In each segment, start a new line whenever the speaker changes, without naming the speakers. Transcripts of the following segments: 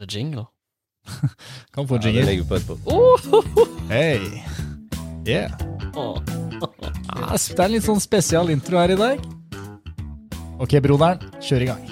The jingle.
Kan få
Ja, det
jingle.
legger vi på etterpå.
Hey. Yeah.
Åh.
Ja, Det er en litt sånn spesial intro her i dag. Ok, broderen, kjør i gang.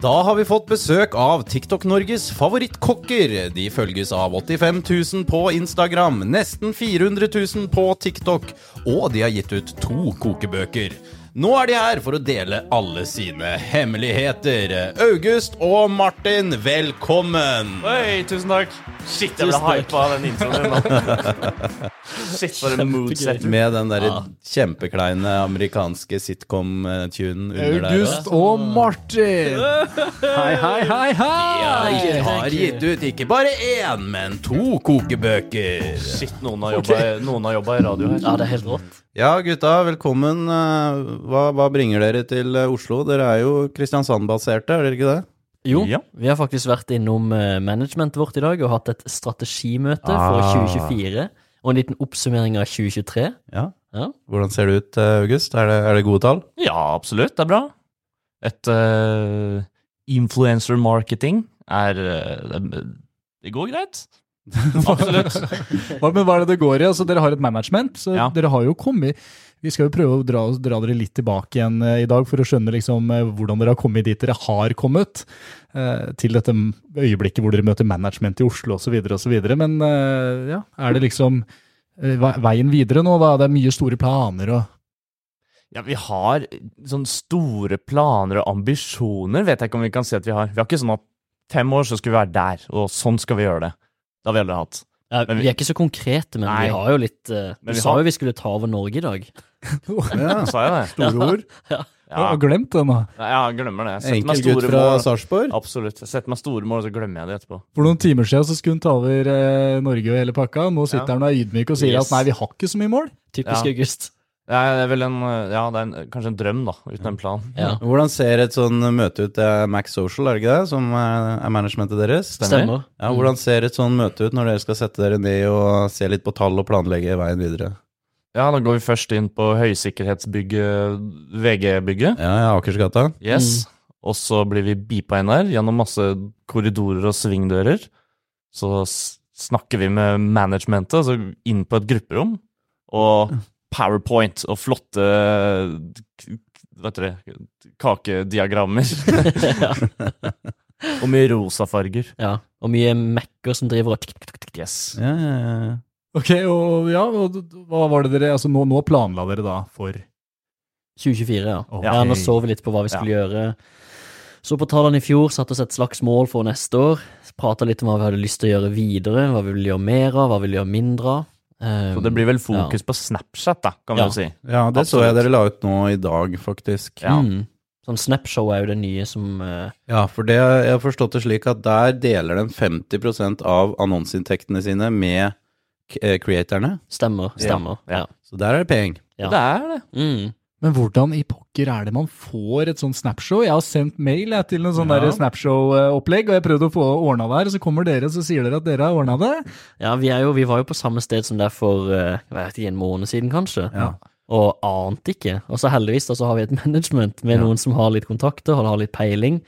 Da har vi fått besøk av TikTok-Norges favorittkokker. De følges av 85 000 på Instagram, nesten 400 000 på TikTok, og de har gitt ut to kokebøker. Nå er de her for å dele alle sine hemmeligheter. August og Martin, velkommen!
Oi, tusen takk. Shit, jeg ble
Tusen takk.
hypa av den introen din nå. Shit, for en moodsetter.
Med den der kjempekleine amerikanske sitcom-tunen under der.
August og Martin. Hei, hei, hei, hei!
De har gitt ut ikke bare én, men to kokebøker.
Shit, noen har jobba noen har jobba i radio her.
Ja, det er helt rått.
Ja, gutta, velkommen. Eh, Hva, hva bringer dere til eh, Oslo? Dere er jo Kristiansand-baserte, er dere ikke det?
Jo,
Ja.
vi har faktisk vært innom eh, managementet vårt i dag og hatt et strategimøte
Ah.
for 2024. Og en liten oppsummering av 2023.
Ja.
Ja.
Hvordan ser det ut, eh, August? Er det, er det gode tall?
Ja, absolutt. Det er bra. Et eh, influencer marketing er eh, det, det går greit. Absolutt.
Hva, men hva er det det går i? Altså, dere har et management, så
Ja.
dere har jo kommet Vi skal jo prøve å dra, dra dere litt tilbake igjen eh, i dag for å skjønne liksom, eh, hvordan dere har kommet dit dere har kommet. eh, Til dette m- øyeblikket hvor dere møter management i Oslo osv. osv. Men eh, ja, er det liksom eh, ve- veien videre nå? da? Det er mye store planer og
Ja, vi har sånn store planer og ambisjoner, vet jeg ikke om vi kan si at vi har. Vi har ikke sånn at fem år så skal vi være der, og sånn skal vi gjøre det. Det har vi aldri hatt.
Ja,
Men vi-
vi er ikke så konkrete, men
Nei.
vi har jo litt eh, Du
Men vi
sa
har-
jo vi skulle ta over Norge i dag.
Ja.
Sa jeg det?
store ord. Jeg
Ja.
har glemt det nå.
Nei, Ja, jeg glemmer det. Jeg setter meg
Enkel gutt
store
fra
mål.
Sarpsborg?
Absolutt. Jeg setter meg store mål, og så glemmer jeg det etterpå.
For noen timer siden så skulle hun ta over eh, Norge og hele pakka. Nå sitter
Ja.
han og er ydmyk og sier
Yes.
at nei, vi har ikke så mye mål.
Typisk
Ja.
August.
Ja, det er vel en, eh, ja, det er en, kanskje en drøm, da, uten en plan.
Ja.
Hvordan ser et sånn møte ut? Det er Max Social, er det ikke det? Som eh, er er managementet deres?
Stemmer.
Ja, Hvordan ser et sånn møte ut når dere skal sette dere ned og se litt på tall og planlegge veien videre?
Ja, da går vi først inn på høysikkerhetsbygget, VG-bygget.
Ja, ja, Akersgata?
Yes.
Mm.
Og så blir vi beepa inn der gjennom masse korridorer og svingdører. Så s- snakker vi med managementet, altså inn på et grupperom. Og
Mm.
powerpoint og flotte k- Vet dere Kakediagrammer.
ja.
og mye rosa farger.
ja. Og mye mekker som driver og tikk, tikk, tikk, tikk.
Yes.
Ja, ja, ja.
Ok, og ja, og d- d- hva var det dere Altså, nå, nå planla dere da for
2024, ja.
Ok.
Ja, nå så vi litt på hva vi skulle gjøre. Så på tallene i fjor satte oss et slags mål for neste år. Prata litt om hva vi hadde lyst til å gjøre videre, hva vi ville gjøre mer av, hva vi ville gjøre mindre av. Um,
Så det blir vel fokus på Snapchat, da, kan vi
Ja.
jo si.
ja det så
Absolutt.
jeg dere la ut nå i dag, faktisk.
Ja.
mm. Sånn Snapshow er jo det nye som eh,
Ja, for det, jeg har forstått det slik at der deler de 50 av annonseinntektene sine med k- eh, createrne.
stemmer. Stemmer. Ja.
Ja.
Så der er det penger.
Ja.
Det er det.
Mm.
Men hvordan i pokker er det man får et sånt Snapshow? Jeg har sendt mail jeg, til noen sånn
Ja.
der Snapshow-opplegg, og jeg prøvde å få ordna det her, og så kommer dere, og så sier dere at dere har ordna det.
ja vi, er jo, vi var jo på samme sted som der for eh, jeg vet ikke, en måned siden, kanskje.
Ja.
Og ante ikke. Og så heldigvis da, så har vi et management med noen som har litt kontakter, og har litt peiling.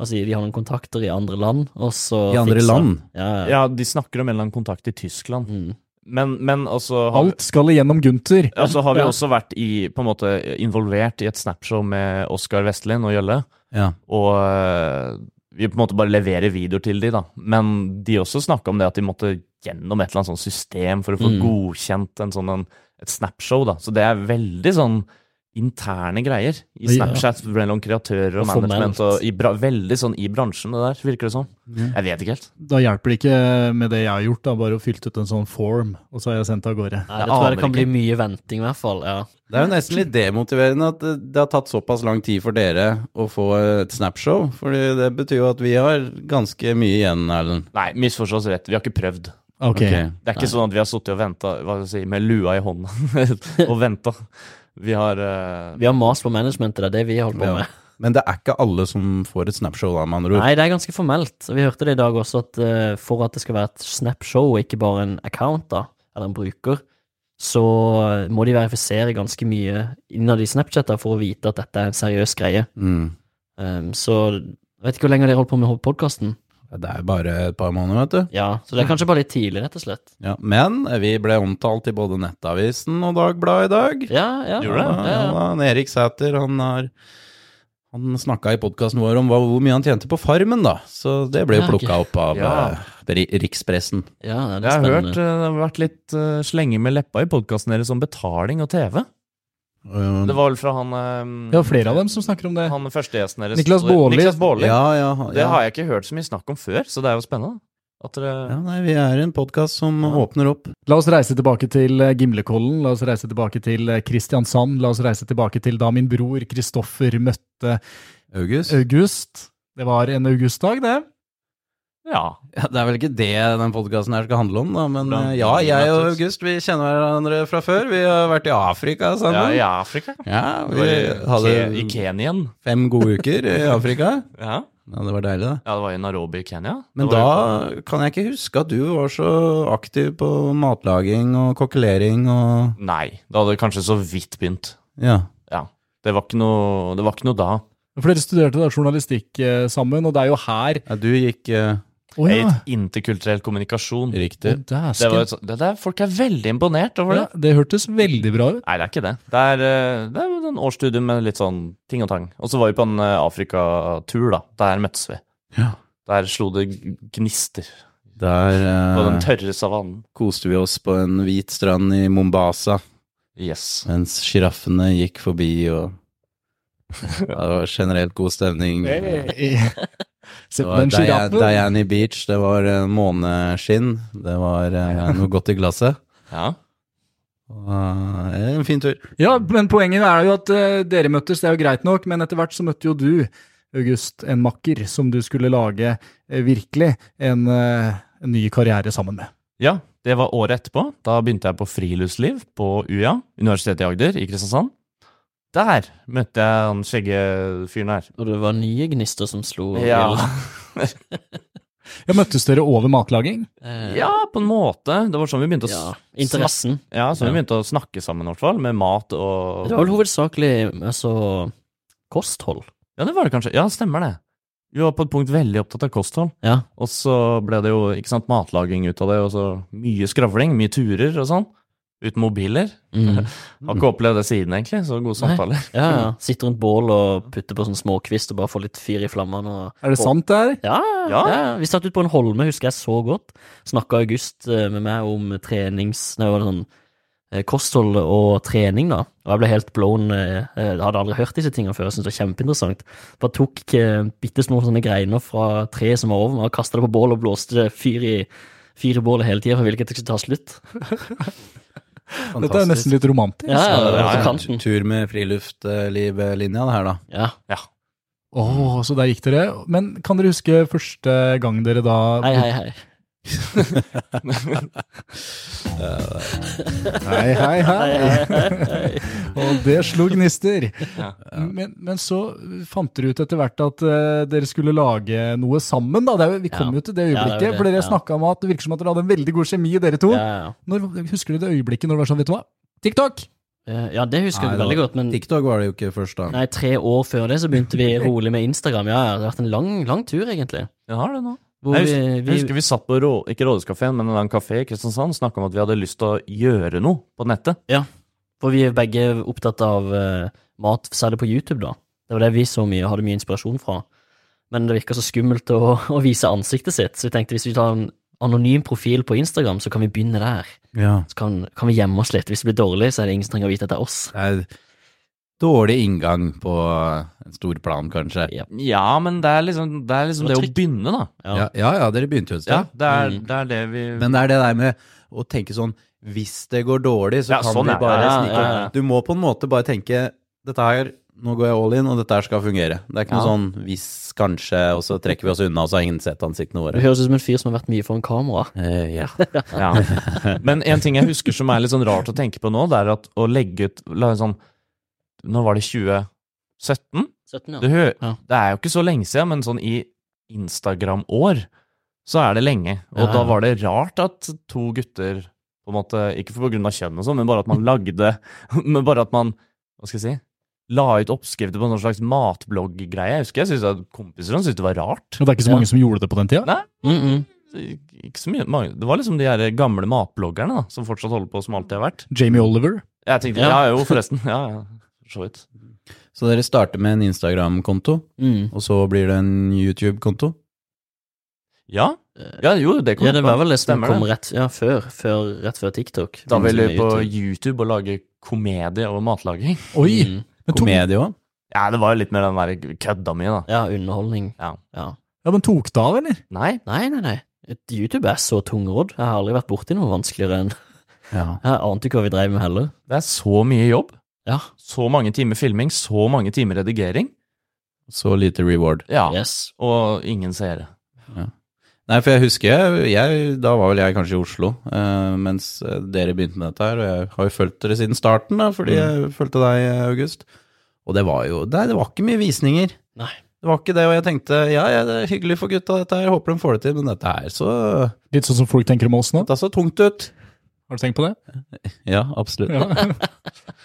Altså, de har noen kontakter i andre land, og så
I andre
fikser-
land.
Ja, ja.
Ja, de snakker om en eller annen kontakt i Tyskland.
Mm.
Men, men altså har,
Alt skal igjennom Gunther.
ja, så har vi
Ja.
også vært i, på en måte, involvert i et snapshow med Oskar Vestlin og Gjølle.
Ja.
Og øh, vi på en måte bare leverer videoer til de, da. Men de også snakka om det at de måtte gjennom et eller annet sånt system for å få
Mm.
godkjent en sånn, en, et snapshow, da. Så det er veldig sånn interne greier i
Ja.
Snapchat mellom kreatører og,
Og formelt.
management. Og i bra, veldig sånn i bransjen, det der, virker det som. Jeg vet ikke helt.
Da hjelper det ikke med det jeg har gjort, da, bare å fylt ut en sånn form, og så har jeg sendt det av
Nei,
gårde.
Jeg
det tror jeg
aner
det kan bli
ikke.
mye venting, i hvert fall. Ja.
Det er jo nesten litt demotiverende at det det har tatt såpass lang tid for dere å få eh, et Snapshow. Fordi det betyr jo at vi har ganske mye igjen, Erlend.
Nei, misforstå oss rett. Vi har ikke prøvd.
Ok.
Ok.
Det er ikke sånn at vi har sittet og venta si, med lua i hånda og venta. Vi har eh,
Vi har mas på managementet, det er det vi holder på
Ja.
med.
Men det er ikke alle som får et Snapshow, da, med andre ord.
Nei, det er ganske formelt. Og Vi hørte det i dag også, at eh, for at det skal være et Snap-show, og ikke bare en account, da, eller en bruker, så eh, må de verifisere ganske mye innad i Snapchat da, for å vite at dette er en seriøs greie.
Mm.
Um, så Jeg vet ikke hvor lenge dere holdt på med podkasten.
Det er bare et par måneder, vet du.
Ja, så det er kanskje bare litt tidlig, rett og slett.
Ja, men eh, vi ble omtalt i både Nettavisen og Dagbladet i dag.
Ja, ja.
Gjorde det?
Ja,
Ja,
ja.
da, en Erik Sæter, han har han snakka i podkasten vår om hva, hvor mye han tjente på Farmen, da. Så det ble jo
Ja, ok.
plukka opp av
Ja.
eh, ri- rikspressen.
ja det
Jeg
er
har
spennende.
hørt eh, det har vært litt eh, slenge med leppa i podkasten deres om betaling og TV.
Eh,
Det var vel fra han eh,
Det er flere av dem som snakker om det.
Han første gjesten deres.
Niklas Baarli.
Niklas Baarli.
ja, ja,
Det
ja.
har jeg ikke hørt så mye snakk om før, så det er jo spennende. At dere
ja, nei, vi er en podkast som åpner opp.
La oss reise tilbake til eh, Gimlekollen, la oss reise tilbake til eh, Kristiansand, la oss reise tilbake til da min bror Kristoffer møtte
August?
August. Det var en augustdag, det.
ja.
Ja, det er vel ikke det den podkasten her skal handle om, da. Men
Hvordan-
eh, ja, jeg og
Nettopp.
August vi kjenner hverandre fra før. Vi har vært i Afrika
ja,
sammen.
i Afrika.
Ja,
Det var
vi
i- Ke- I
hadde
Kenyan.
fem gode uker i Afrika.
Ja.
Ja, det var deilig, det.
ja, det var i Narobi i Kenya. Det
Men
var
da
jo-
kan jeg ikke huske at du var så aktiv på matlaging og kokkelering og
Nei, da hadde det kanskje så vidt begynt.
Ja.
Ja. Det var ikke noe, det var ikke noe da.
For dere studerte da journalistikk eh, sammen, og det er jo her
ja du gikk eh,
Å
Jeg
ja!
gikk Interkulturell kommunikasjon.
riktig.
Å, dæsken.
Det var, et sånt- det der, folk er veldig imponert over
ja,
det.
det hørtes veldig bra ut.
Nei, det er ikke det. Det er, eh, det er jo en årsstudie med litt sånn ting og tang. Og så var vi på en eh, Afrika-tur, da. Der møttes vi.
Ja.
Der slo det g- gnister
Der
på den
eh,
tørre savannen.
koste vi oss på en hvit strand i Mombasa
Yes.
mens sjiraffene gikk forbi og Det var generelt god stemning.
Se på
Det var
den
Dia-
sjiraffen.
Diani Beach, det var eh, måneskinn, det var eh, noe godt i glasset.
Ja.
Og, eh, en fin tur.
Ja, men poenget er jo at eh, dere møttes, det er jo greit nok, men etter hvert så møtte jo du, August, en makker som du skulle lage eh, virkelig en, eh, en ny karriere sammen med.
Ja, det var året etterpå. Da begynte jeg på friluftsliv på UiA, Universitetet i Agder, i Kristiansand. Der møtte jeg han skjeggefyren her.
Og det var nye gnister som slo.
Ja.
Ja, møttes dere over matlaging?
Eh,
ja, på en måte. Det var sånn vi begynte å,
ja.
s-
Interessen.
ja, sånn vi begynte å snakke sammen, i hvert fall, med mat og
Det var vel hovedsakelig altså, kosthold.
Ja, det var det kanskje. Ja, stemmer det. Vi var på et punkt veldig opptatt av kosthold.
Ja.
Og så ble det jo ikke sant, matlaging ut av det, og så mye skravling, mye turer og sånn. Uten mobiler.
Mm.
Har ikke opplevd det siden, egentlig. Så gode
Nei.
samtaler.
ja, ja. Sitte rundt bål og putte på sånn småkvist og bare få litt fyr i flammene. Og...
Er det sant det her?
Ja, ja.
Ja.
vi satt ute på en holme, husker jeg så godt. Snakka August eh, med meg om trenings... Nei, hva var det sånn eh, Kosthold og trening, da. Og jeg ble helt blown. eh, eh, Jeg hadde aldri hørt disse tingene før. Jeg syntes det var kjempeinteressant. Bare tok eh, bitte små sånne greiner fra treet som var over meg, og kasta det på bålet og blåste fyr i, fyr i bålet hele tida. For jeg ville ikke at det skulle ta slutt.
Dette er nesten litt romantisk.
Ja, ja,
Ja, det
ja,
var
på
en
kanten.
Tur med friluftslivlinja, det her, da.
Ja.
Åh, så der gikk dere. Men kan dere huske første gang dere da
Hei, hei, hei.
Hei, hei, hei.
hei.
Og det slo gnister.
Ja.
Men, men så fant dere ut etter hvert at eh, dere skulle lage noe sammen. da. Det er, jo- vi kom
Ja.
jo til det
Ja, det er
øyeblikket,
vel det,
for dere
ja.
snakket om at det virker som at dere hadde en veldig god kjemi, dere to.
Ja, ja,
Når, husker du det øyeblikket når det var sånn, vet du hva? TikTok!
ja. Eh, ja, det husker
Nei,
jeg
det
veldig
var-
godt, men
TikTok var det jo ikke først, da.
Nei, tre år før det så begynte vi rolig med Instagram. Ja, ja, det har vært en lang, lang tur, egentlig.
Jeg har det nå.
Hvor
Jeg
vi,
Jeg
vi,
husker vi satt på Rå, ikke Rådhuskafeen, men en annen kafé i Kristiansand snakka om at vi hadde lyst til å gjøre noe på nettet.
for vi er begge opptatt av eh, mat, særlig på YouTube, da. Det var det vi så mye og hadde mye inspirasjon fra. Men det virka så skummelt å, å vise ansiktet sitt, så vi tenkte hvis vi tar en anonym profil på Instagram, så kan vi begynne der.
Ja.
Så kan, kan vi gjemme oss litt. Hvis det blir dårlig, så er det ingen som trenger å vite at det er oss.
Det er dårlig inngang på en stor plan, kanskje.
Ja, men det er liksom det, er liksom
Det
det
var
å begynne, da.
Ja.
Ja, ja, ja dere begynte jo et sted.
Ja, det er,
Mm.
det er det vi
Men det er det der med å tenke sånn Hvis det går dårlig, så
Ja,
kan
sånn,
vi
ja.
bare
Ja,
snike
ja, ja.
opp. Du må på en måte bare tenke Dette her nå går jeg all in, og dette her skal fungere. Det er ikke noe
Ja.
sånn hvis, kanskje, og så trekker vi oss unna, og så har ingen sett ansiktene
Du
våre.
høres ut som en fyr som har vært mye foran kamera.
Eh, ja.
Ja. Men en ting jeg husker som er litt sånn rart å tenke på nå, det er at å legge ut la oss sånn Nå var det 2017?
17,
Det,
ja.
hø
Ja.
det er jo ikke så lenge siden, men sånn i Instagram-år så er det lenge.
Ja,
Og
ja.
da var det rart at to gutter på en måte, Ikke på grunn av kjønn og sånn, men bare at man lagde Men bare at man Hva skal jeg si? la ut oppskrifter på en sånn slags matblogg-greie. Jeg husker jeg syntes at kompiser hans syntes det var rart.
Og det er ikke så mange som gjorde det på den tida?
Mm -mm.
Ikke så mye, mange. Det var liksom de her gamle matbloggerne da, som fortsatt holder på som alltid har vært.
Jamie Oliver.
Jeg tenkte, ja,
Ja.
jo, forresten. Ja, ja, for så vidt.
Så dere starter med en Instagram-konto,
Mm.
og så blir det en YouTube-konto?
Ja, ja jo, det kommer
Ja, det var vel det som
Stemmer det.
kom rett, ja, før, før, rett før TikTok.
Da vil vi
Som er
på
YouTube.
YouTube og lage komedie og matlaging.
Oi!
Mm.
Men tok,
Komedie òg?
Ja, det var jo litt mer den der kødda mi, da.
Ja, underholdning.
Ja.
ja, men tok det av, eller?
Nei,
Nei, nei, nei. Et- YouTube er så tungrodd. Jeg har aldri vært borti noe vanskeligere enn
Ja.
Jeg ante ikke hva vi drev med heller.
det er så mye jobb.
Ja.
Så mange timer filming, så mange timer redigering.
Så lite reward.
Ja,
Ah. Yes.
og ingen seere.
Nei, for jeg husker jeg, jeg Da var vel jeg kanskje i Oslo, eh, mens dere begynte med dette her. Og jeg har jo fulgt dere siden starten, da, fordi jeg fulgte deg, eh, August. Og det var jo Nei, det var ikke mye visninger.
Nei.
Det var ikke det, og jeg tenkte ja, ja, det er hyggelig for gutta, dette her. Håper de får det til, men dette er så
Litt sånn som folk tenker om oss nå.
Dette er så tungt ut.
Har du tenkt på det?
Ja, absolutt.
Ja.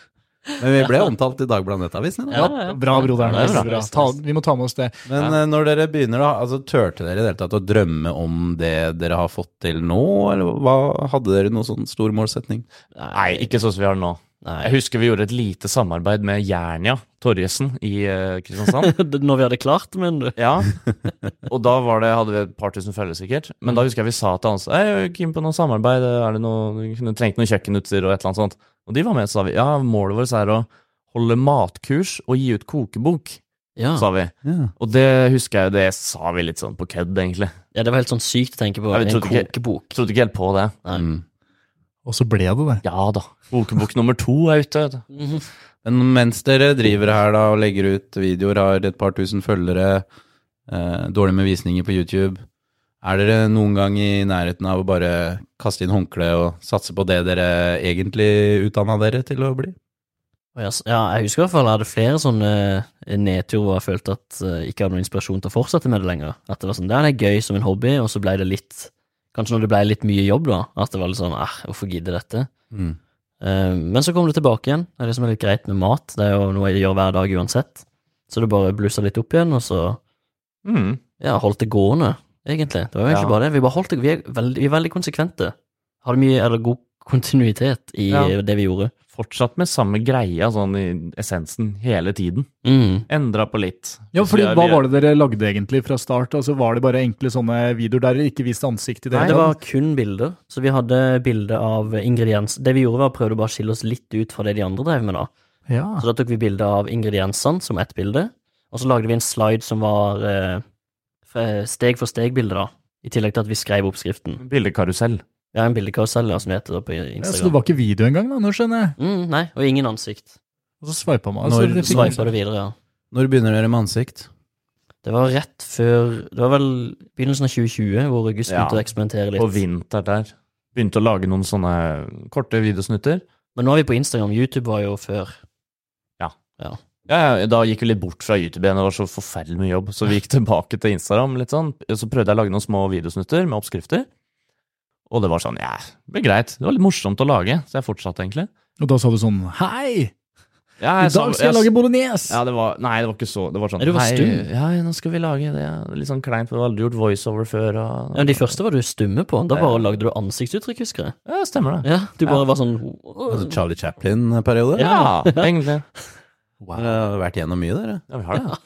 Men vi ble omtalt i Dagbladet Nettavisen. Ja.
Ja, ja.
Bra, broderen.
Ja, det er bra.
Veldig bra. Ta, vi må ta med oss det.
Men eh, når dere begynner, da, altså turte dere i det hele tatt å drømme om det dere har fått til nå, eller hva, hadde dere noen sånn stor målsetning?
Nei, ikke sånn som vi har det nå.
Nei.
Jeg husker vi gjorde et lite samarbeid med Jernia Torjesen i eh, Kristiansand.
Når vi hadde klart det, men du
Ja, og da var det, hadde vi et par tusen følgere sikkert. Men da husker jeg vi sa til han Hei, er du keen på noe samarbeid, er det noe, du trengte noe kjøkkenutstyr og et eller annet sånt. Og de var med, så sa vi ja, målet vårt er å holde matkurs og gi ut kokebok,
Ja.
sa vi.
Ja.
Og det husker jeg jo, det sa vi litt sånn på kødd, egentlig.
ja, det var helt sånn sykt å tenke på.
Ja, vi
En
trodde ikke-
kokebok.
Trodde ikke helt på det.
Nei.
Mm.
Og så ble det det.
Ja da, kokebok nummer to er ute. vet du.
Mhm.
Men mens dere driver her da og legger ut videoer, har et par tusen følgere, eh, dårlig med visninger på YouTube, er dere noen gang i nærheten av å bare kaste inn håndkle og satse på det dere egentlig utdanna dere til å bli?
Og jeg, s- ja, jeg husker i hvert fall jeg hadde flere sånne eh, nedturer hvor jeg følte at eh, ikke hadde noen inspirasjon til å fortsette med det lenger. At det var sånn, det er gøy som en hobby, og så ble det litt Kanskje når det ble litt mye jobb, da. At det var litt sånn, eh, hvorfor gidde dette? Eh, Men så kom det tilbake igjen. Det er det som er litt greit med mat. Det er jo noe jeg gjør hver dag uansett. Så det bare blussa litt opp igjen, og så
Mm.
ja, holdt det gående, egentlig. Det var jo egentlig
Ja.
bare det. Vi bare holdt det, vi er veldig, vi er veldig konsekvente. Hadde mye eller god kontinuitet i
Ja.
eh, det vi gjorde.
Fortsatt med samme greia, sånn i essensen, hele tiden.
Mm.
Endra på litt.
Ja, fordi Hva var det dere lagde egentlig fra start? Altså, Var det bare enkle sånne videoer der dere ikke viste ansikt i det?
Nei,
hele
det var
tatt?
kun bilder. Så vi hadde bilde av ingrediens... Det vi gjorde, var å prøve å bare skille oss litt ut fra det de andre drev med, da.
ja.
Så da tok vi bilde av ingrediensene som ett bilde, og så lagde vi en slide som var eh, f- steg for steg-bilde, da. I tillegg til at vi skrev oppskriften.
Bildekarusell.
Vi har en bildekarusell, ja, som det heter da på
ja, Så det
Instagram.
var ikke video engang, da? Nå skjønner jeg.
Mm, nei, og ingen ansikt.
Og så sveipa man.
Når
Altså, dere fikk-
Sveipa det videre, ja.
Når begynner dere med ansikt?
Det var rett før Det var vel begynnelsen av 2020 hvor August
Ja.
begynte å eksperimentere
På
litt.
vinter der. Begynte å lage noen sånne korte videosnutter.
Men nå er vi på Instagram. YouTube var jo før.
Ja, ja, da gikk vi litt bort fra YouTube igjen, det var så forferdelig mye jobb. Så vi gikk tilbake til Instagram litt sånn. Så prøvde jeg å lage noen små videosnutter med oppskrifter. Og det var sånn, ja, det ble greit. Det var litt morsomt å lage, så jeg fortsatte egentlig.
Og da sa du sånn Hei,
Ja,
i
jeg sa-
dag skal jeg lage bolognese!
Ja, det var, nei, det var ikke så Det var sånn
Nei, du var
«Hei,
stum.
Ja, nå skal vi lage det. Litt sånn kleint, for du har aldri gjort voiceover før. Og,
Ja, de første var du stumme på. Da bare lagde du ansiktsuttrykk, husker jeg.
Ja, stemmer det.
Ja, Du bare
Ja.
var sånn
Altså Charlie Chaplin-periode?
Ja, egentlig.
Dere har vært gjennom mye, dere.
Ja, vi har det.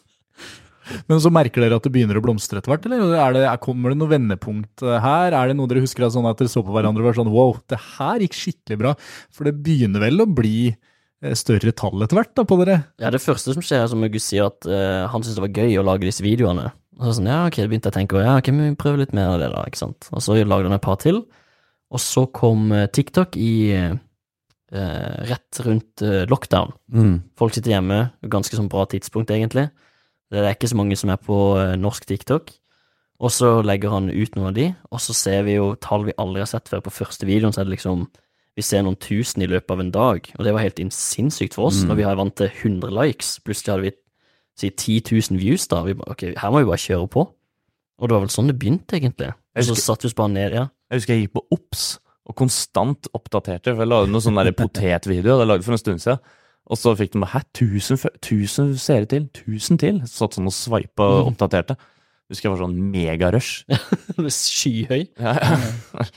Men så merker dere at det begynner å blomstre etter hvert, eller? Er det, er, kommer det noe vendepunkt eh, her? Er det noe dere husker av sånn at dere så på hverandre og var sånn wow, det her gikk skikkelig bra? For det begynner vel å bli eh, større tall etter hvert da på dere?
Ja, det første som skjer, er som August sier, at eh, han syntes det var gøy å lage disse videoene. Og så sånn, ja, ok, begynte jeg å tenke, ja, ok, men vi prøver litt mer av det da, ikke sant? Og så lagde han et par til, og så kom eh, TikTok i eh, eh, rett rundt eh, lockdown. Folk sitter hjemme, ganske sånn bra tidspunkt egentlig. Det er ikke så mange som er på eh, norsk TikTok. Og så legger han ut noen av de, og så ser vi jo tall vi aldri har sett før. På første videoen så er det liksom Vi ser noen tusen i løpet av en dag, og det var helt inn- sinnssykt for oss
Mm.
når vi er vant til 100 likes. Plutselig hadde vi si 10 000 views, da. Vi bare ok, her må vi bare kjøre på. Og det var vel sånn det begynte, egentlig. Og
Jeg
så
husker-
satte vi oss bare ned, ja.
Jeg husker jeg gikk på OBS og konstant oppdaterte, for jeg lagde noen sånne der potetvideoer det jeg lagde for en stund siden. Og så fikk de bare Hæ, 1000 fø- 1000 seere til? 1000 til? Satt sånn og sveipa og
Mm.
oppdaterte. Husker jeg var sånn megarush.
Skyhøy.
Ja, ja.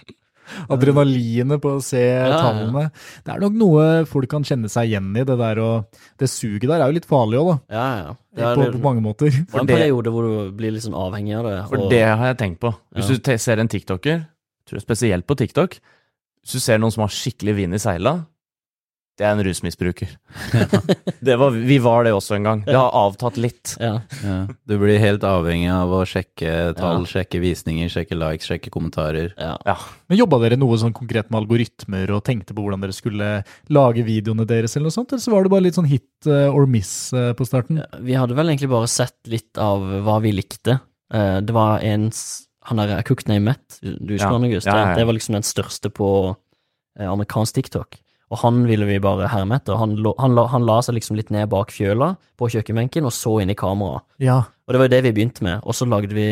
Adrenalinet på å se
ja.
tallene. Det er nok noe folk kan kjenne seg igjen i. Det der og det suget der er jo litt farlig òg, da.
Ja, ja. Det er,
På, på mange måter.
det var en
det-
periode hvor du blir litt sånn avhengig av det.
For
og-
det har jeg tenkt på. Hvis
Ja.
du te- ser en tiktoker, tror jeg spesielt på tiktok, hvis du ser noen som har skikkelig vind i seila, det er en rusmisbruker. det var, vi var det også en gang. Det har avtatt litt.
ja.
Ja. Du blir helt avhengig av å sjekke tall, sjekke visninger, sjekke likes, sjekke kommentarer.
Ja.
Ja.
Men Jobba dere noe sånn konkret med algoritmer og tenkte på hvordan dere skulle lage videoene deres, eller noe sånt, eller så var det bare litt sånn hit eh, or miss eh, på starten?
Vi hadde vel egentlig bare sett litt av hva vi likte. Eh, Det var en s- Han der Cook Name Matt, du husker
Ja.
han, August?
Ja, ja, ja.
Det var liksom den største på eh, amerikansk TikTok. Og han ville vi bare herme etter. Han, lå- han, la- han la seg liksom litt ned bak fjøla på kjøkkenbenken og så inn i kameraet.
Ja.
Og det var jo det vi begynte med. Og så lagde vi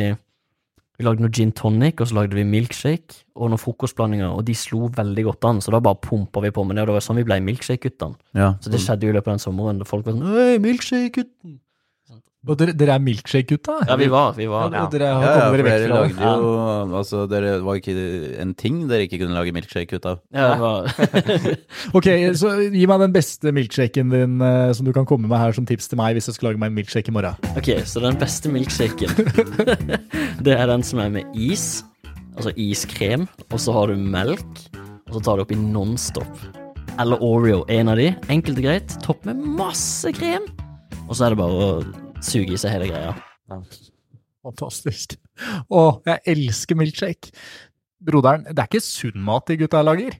vi lagde noe gin tonic, og så lagde vi milkshake og noen frokostblandinger, og de slo veldig godt an, så da bare pumpa vi på med det, og det var sånn vi ble Milkshake-guttene.
Ja.
Så det skjedde jo i løpet av den sommeren, da folk var sånn Øy, Milkshake-gutten!
Og dere, dere er milkshake-gutta?
Ja, vi var, vi var.
Ja, Dere har
Ja, ja,
kommet
for
dere vekk
dere
fra det.
lagde jo Altså, dere var ikke en ting dere ikke kunne lage milkshake ut av.
Ja, det var.
Ok, så gi meg den beste milkshaken din eh, som du kan komme med her som tips til meg hvis jeg skal lage meg en milkshake i morgen.
Ok, så den beste milkshaken, det er den som er med is, altså iskrem, og så har du melk, og så tar du oppi Nonstop. Eller Oreo, en av de. Enkelt og greit. Topp med masse krem. Og så er det bare å suge i seg hele greia.
Fantastisk. Å, jeg elsker milkshake. Broderen, det er ikke sunn mat de gutta lager.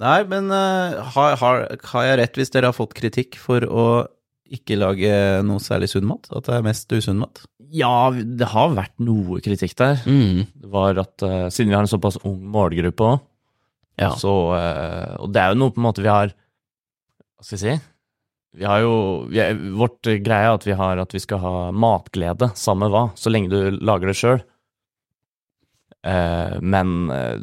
Nei, men eh, har, har, har jeg rett hvis dere har fått kritikk for å ikke lage noe særlig sunn mat? At det er mest usunn mat?
Ja, det har vært noe kritikk der.
Mm.
Det var at eh, siden vi har en såpass ung målgruppe òg,
Ja.
så eh, Og det er jo noe på en måte vi har Hva skal jeg si? Vi har jo vi er, Vårt eh, greie er at vi har at vi skal ha matglede, samme hva, så lenge du lager det sjøl. men eh,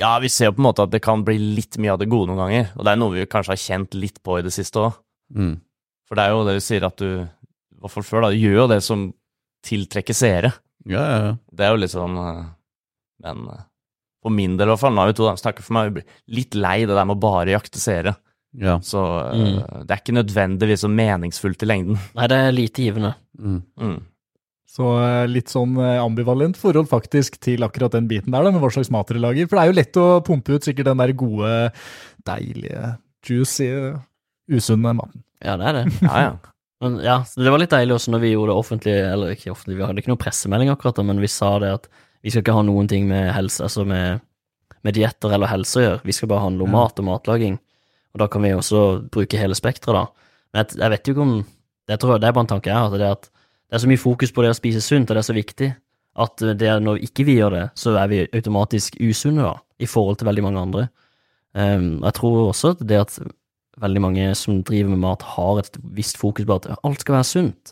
ja, vi ser jo på en måte at det kan bli litt mye av det gode noen ganger. Og det er noe vi kanskje har kjent litt på i det siste òg.
Mm.
For det er jo det du sier at du, i hvert fall før, da, du gjør jo det som tiltrekker seere.
Ja, ja, ja.
Det er jo litt sånn eh, Men eh, for min del, i hvert fall, nå er vi to da, snakker for meg, jeg blir litt lei det der med å bare jakte seere.
ja.
Så eh, det er ikke nødvendigvis så meningsfullt i lengden.
Nei, det er lite givende.
Mm.
Mm.
Så eh, litt sånn eh, ambivalent forhold faktisk til akkurat den biten der, da, med hva slags mat dere lager. For det er jo lett å pumpe ut sikkert den der gode, deilige, juicy, usunne maten.
Ja, det er det.
Ja, ja.
Men ja, så det var litt deilig også når vi gjorde det offentlig, eller ikke offentlig, vi hadde ikke noen pressemelding akkurat da, men vi sa det at vi skal ikke ha noen ting med helse, altså med, med dietter eller helse å gjøre, vi skal bare handle om
Ja.
mat og matlaging, og da kan vi også bruke hele spektret da. Men jeg, jeg vet jo ikke om, det tror jeg det er bare en tanke jeg har, at det er at det er så mye fokus på det å spise sunt, og det er så viktig, at det er når ikke vi gjør det, så er vi automatisk usunne da, i forhold til veldig mange andre. Um, og jeg tror også at det at veldig mange som driver med mat, har et visst fokus på at alt skal være sunt.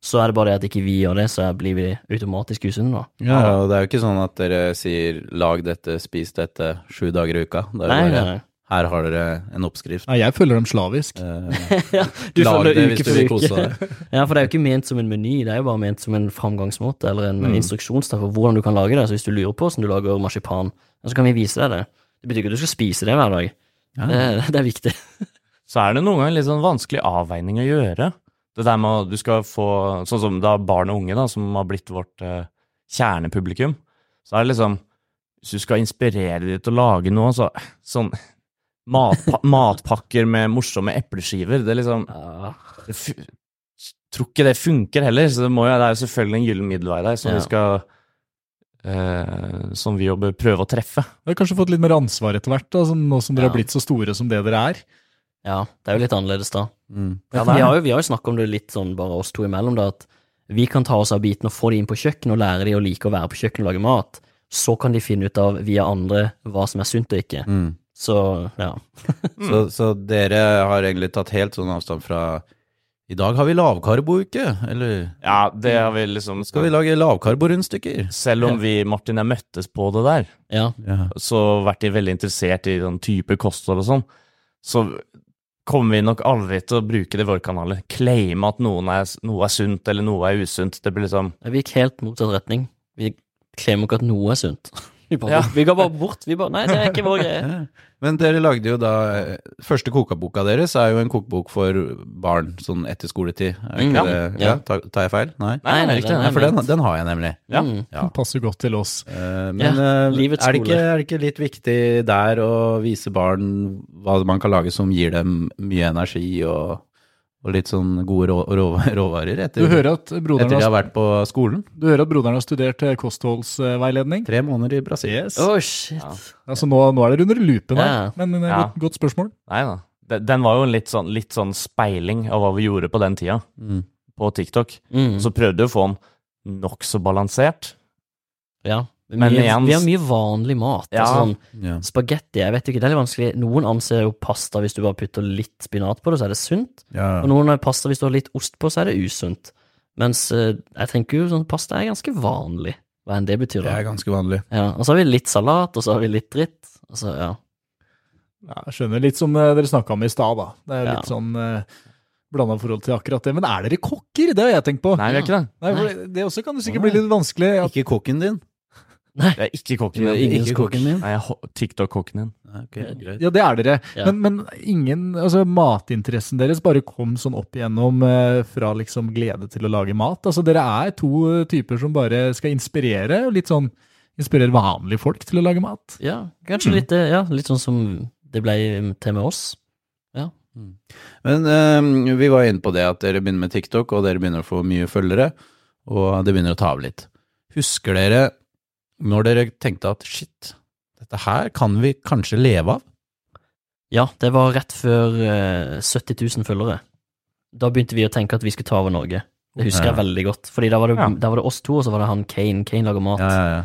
Så er det bare det at ikke vi gjør det, så blir vi automatisk usunne, da.
ja, ja, og det er jo ikke sånn at dere sier 'lag dette, spis dette' sju dager i uka. Det er jo
Nei, nei,
bare,
nei.
her har dere en oppskrift.
Nei, jeg føler dem slavisk.
Eh,
Du
lag
følger
det
uke
hvis du
for
vil
uke.
kose deg.
Ja, for det er jo ikke ment som en meny, det er jo bare ment som en framgangsmåte, eller
Mm.
en instruksjonstafel for hvordan du kan lage det. Så hvis du lurer på hvordan du lager marsipan, ja, så kan vi vise deg det. Det betyr ikke at du skal spise det hver dag. Det, det er viktig.
Så er det noen ganger litt sånn vanskelig avveining å gjøre. Det der med at du skal få Sånn som da barn og unge, da, som har blitt vårt eh, kjernepublikum, så er det liksom Hvis du skal inspirere dem til å lage noe, så sånn matpa Matpakker med morsomme epleskiver, det liksom
Ja.
det fu- Tror ikke det funker heller, så det, må jo, det er jo selvfølgelig en gyllen middelvei der, som
Ja.
vi skal eh, Som vi jobber prøve å treffe.
Dere har kanskje fått litt mer ansvar etter hvert, da, sånn nå som dere
Ja.
har blitt så store som det dere er.
ja, det er jo litt annerledes da.
Mm.
Ja, vi har jo, vi har jo snakket om det litt sånn bare oss to imellom, da, at vi kan ta oss av biten og få de inn på kjøkkenet og lære de å like å være på kjøkkenet og lage mat. Så kan de finne ut av via andre hva som er sunt og ikke.
Mm.
Så ja. Mm.
Så, så dere har egentlig tatt helt sånn avstand fra I dag har vi lavkarbo-uke, eller
Ja, det har vi liksom
skal vi lage lavkarborundstykker?
Selv om vi, Martin, jeg møttes på det der,
ja.
Ja.
så vært de veldig interessert i sånn type kosthold og sånn, så kommer vi nok aldri til å bruke det i våre kanaler. Claime at noen er, noe er sunt eller noe er usunt. Det blir liksom
Vi gikk helt motsatt retning. Vi klemmer ikke at noe er sunt. Vi, bare,
Ja.
vi går bare bort. Vi bare Nei, det er ikke vår greie.
Men dere lagde jo da eh, Første kokeboka deres er jo en kokebok for barn sånn etter skoletid. Er
Mm,
ikke
ja.
det?
Ja.
Ja, tar, tar jeg feil? Nei?
Nei, nei,
riktig.
nei,
Nei, for den, den har jeg nemlig.
Ja.
Mm.
Ja.
Passer godt til oss.
Eh, Men
Ja,
eh,
livets
er, det ikke,
skole.
er det ikke litt viktig der å vise barn hva man kan lage som gir dem mye energi og, og litt sånn gode rå, rå, råvarer
Du
etter,
hører at
etter
broderen
de har
har,
vært på skolen?
du hører at broderen har studert eh, kostholdsveiledning?
Tre måneder i Brasil. Yes.
Åh, shit.
Ja.
Altså nå, nå er det under loopen her,
Ja.
men det er
Ja.
godt, godt spørsmål.
Nei da. De- Den var jo en litt sånn, litt sånn speiling av hva vi gjorde på den tida,
Mm.
på TikTok.
Mm.
Så prøvde vi å få den nokså balansert.
Ja. Vi,
Men igjen-
vi har mye vanlig mat.
Ja.
Altså, sånn,
Ja.
Spagetti jeg vet ikke, det er litt vanskelig. Noen anser jo pasta hvis du bare putter litt spinat på det, så er det sunt. Og noen er pasta hvis du har litt ost på, så er det usunt. Mens eh, jeg tenker jo sånn pasta er ganske vanlig, hva enn det betyr.
Det
da.
er ganske vanlig.
Ja, og så har vi litt salat, og så har vi litt dritt. Og så, ja.
Ja, jeg skjønner. Litt som eh, dere snakka om i stad, da. Det er
Ja.
litt sånn uh, blanda forhold til akkurat det. Men er dere kokker? Det har jeg tenkt på.
Nei, vi er ikke det.
Nei, for det også kan jo sikkert bli litt vanskelig. At,
Ikke kokken din?
Jeg er ikke kokken
Du er
din.
ingen
Ikke
kokk.
kokken din?
Nei, jeg er ho- TikTok-kokken din.
Nei, ok, greit.
ja, det er dere.
Ja.
Men, men ingen, altså, matinteressen deres bare kom sånn opp igjennom eh, fra liksom glede til å lage mat. Altså, dere er to eh, typer som bare skal inspirere, og litt sånn inspirere vanlige folk til å lage mat.
ja, kanskje litt, eh, ja, litt sånn som det ble til med oss.
Men eh, vi var inne på det at dere begynner med TikTok, og dere begynner å få mye følgere, og det begynner å ta av litt. Husker dere når dere tenkte at shit, dette her kan vi kanskje leve av?
Ja, det var rett før eh, 70 000 følgere. Da begynte vi å tenke at vi skulle ta over Norge. Det husker jeg
Ja.
veldig godt. Fordi da var, det,
Ja.
da var det oss to, og så var det han Kane. Kane lager mat.
ja.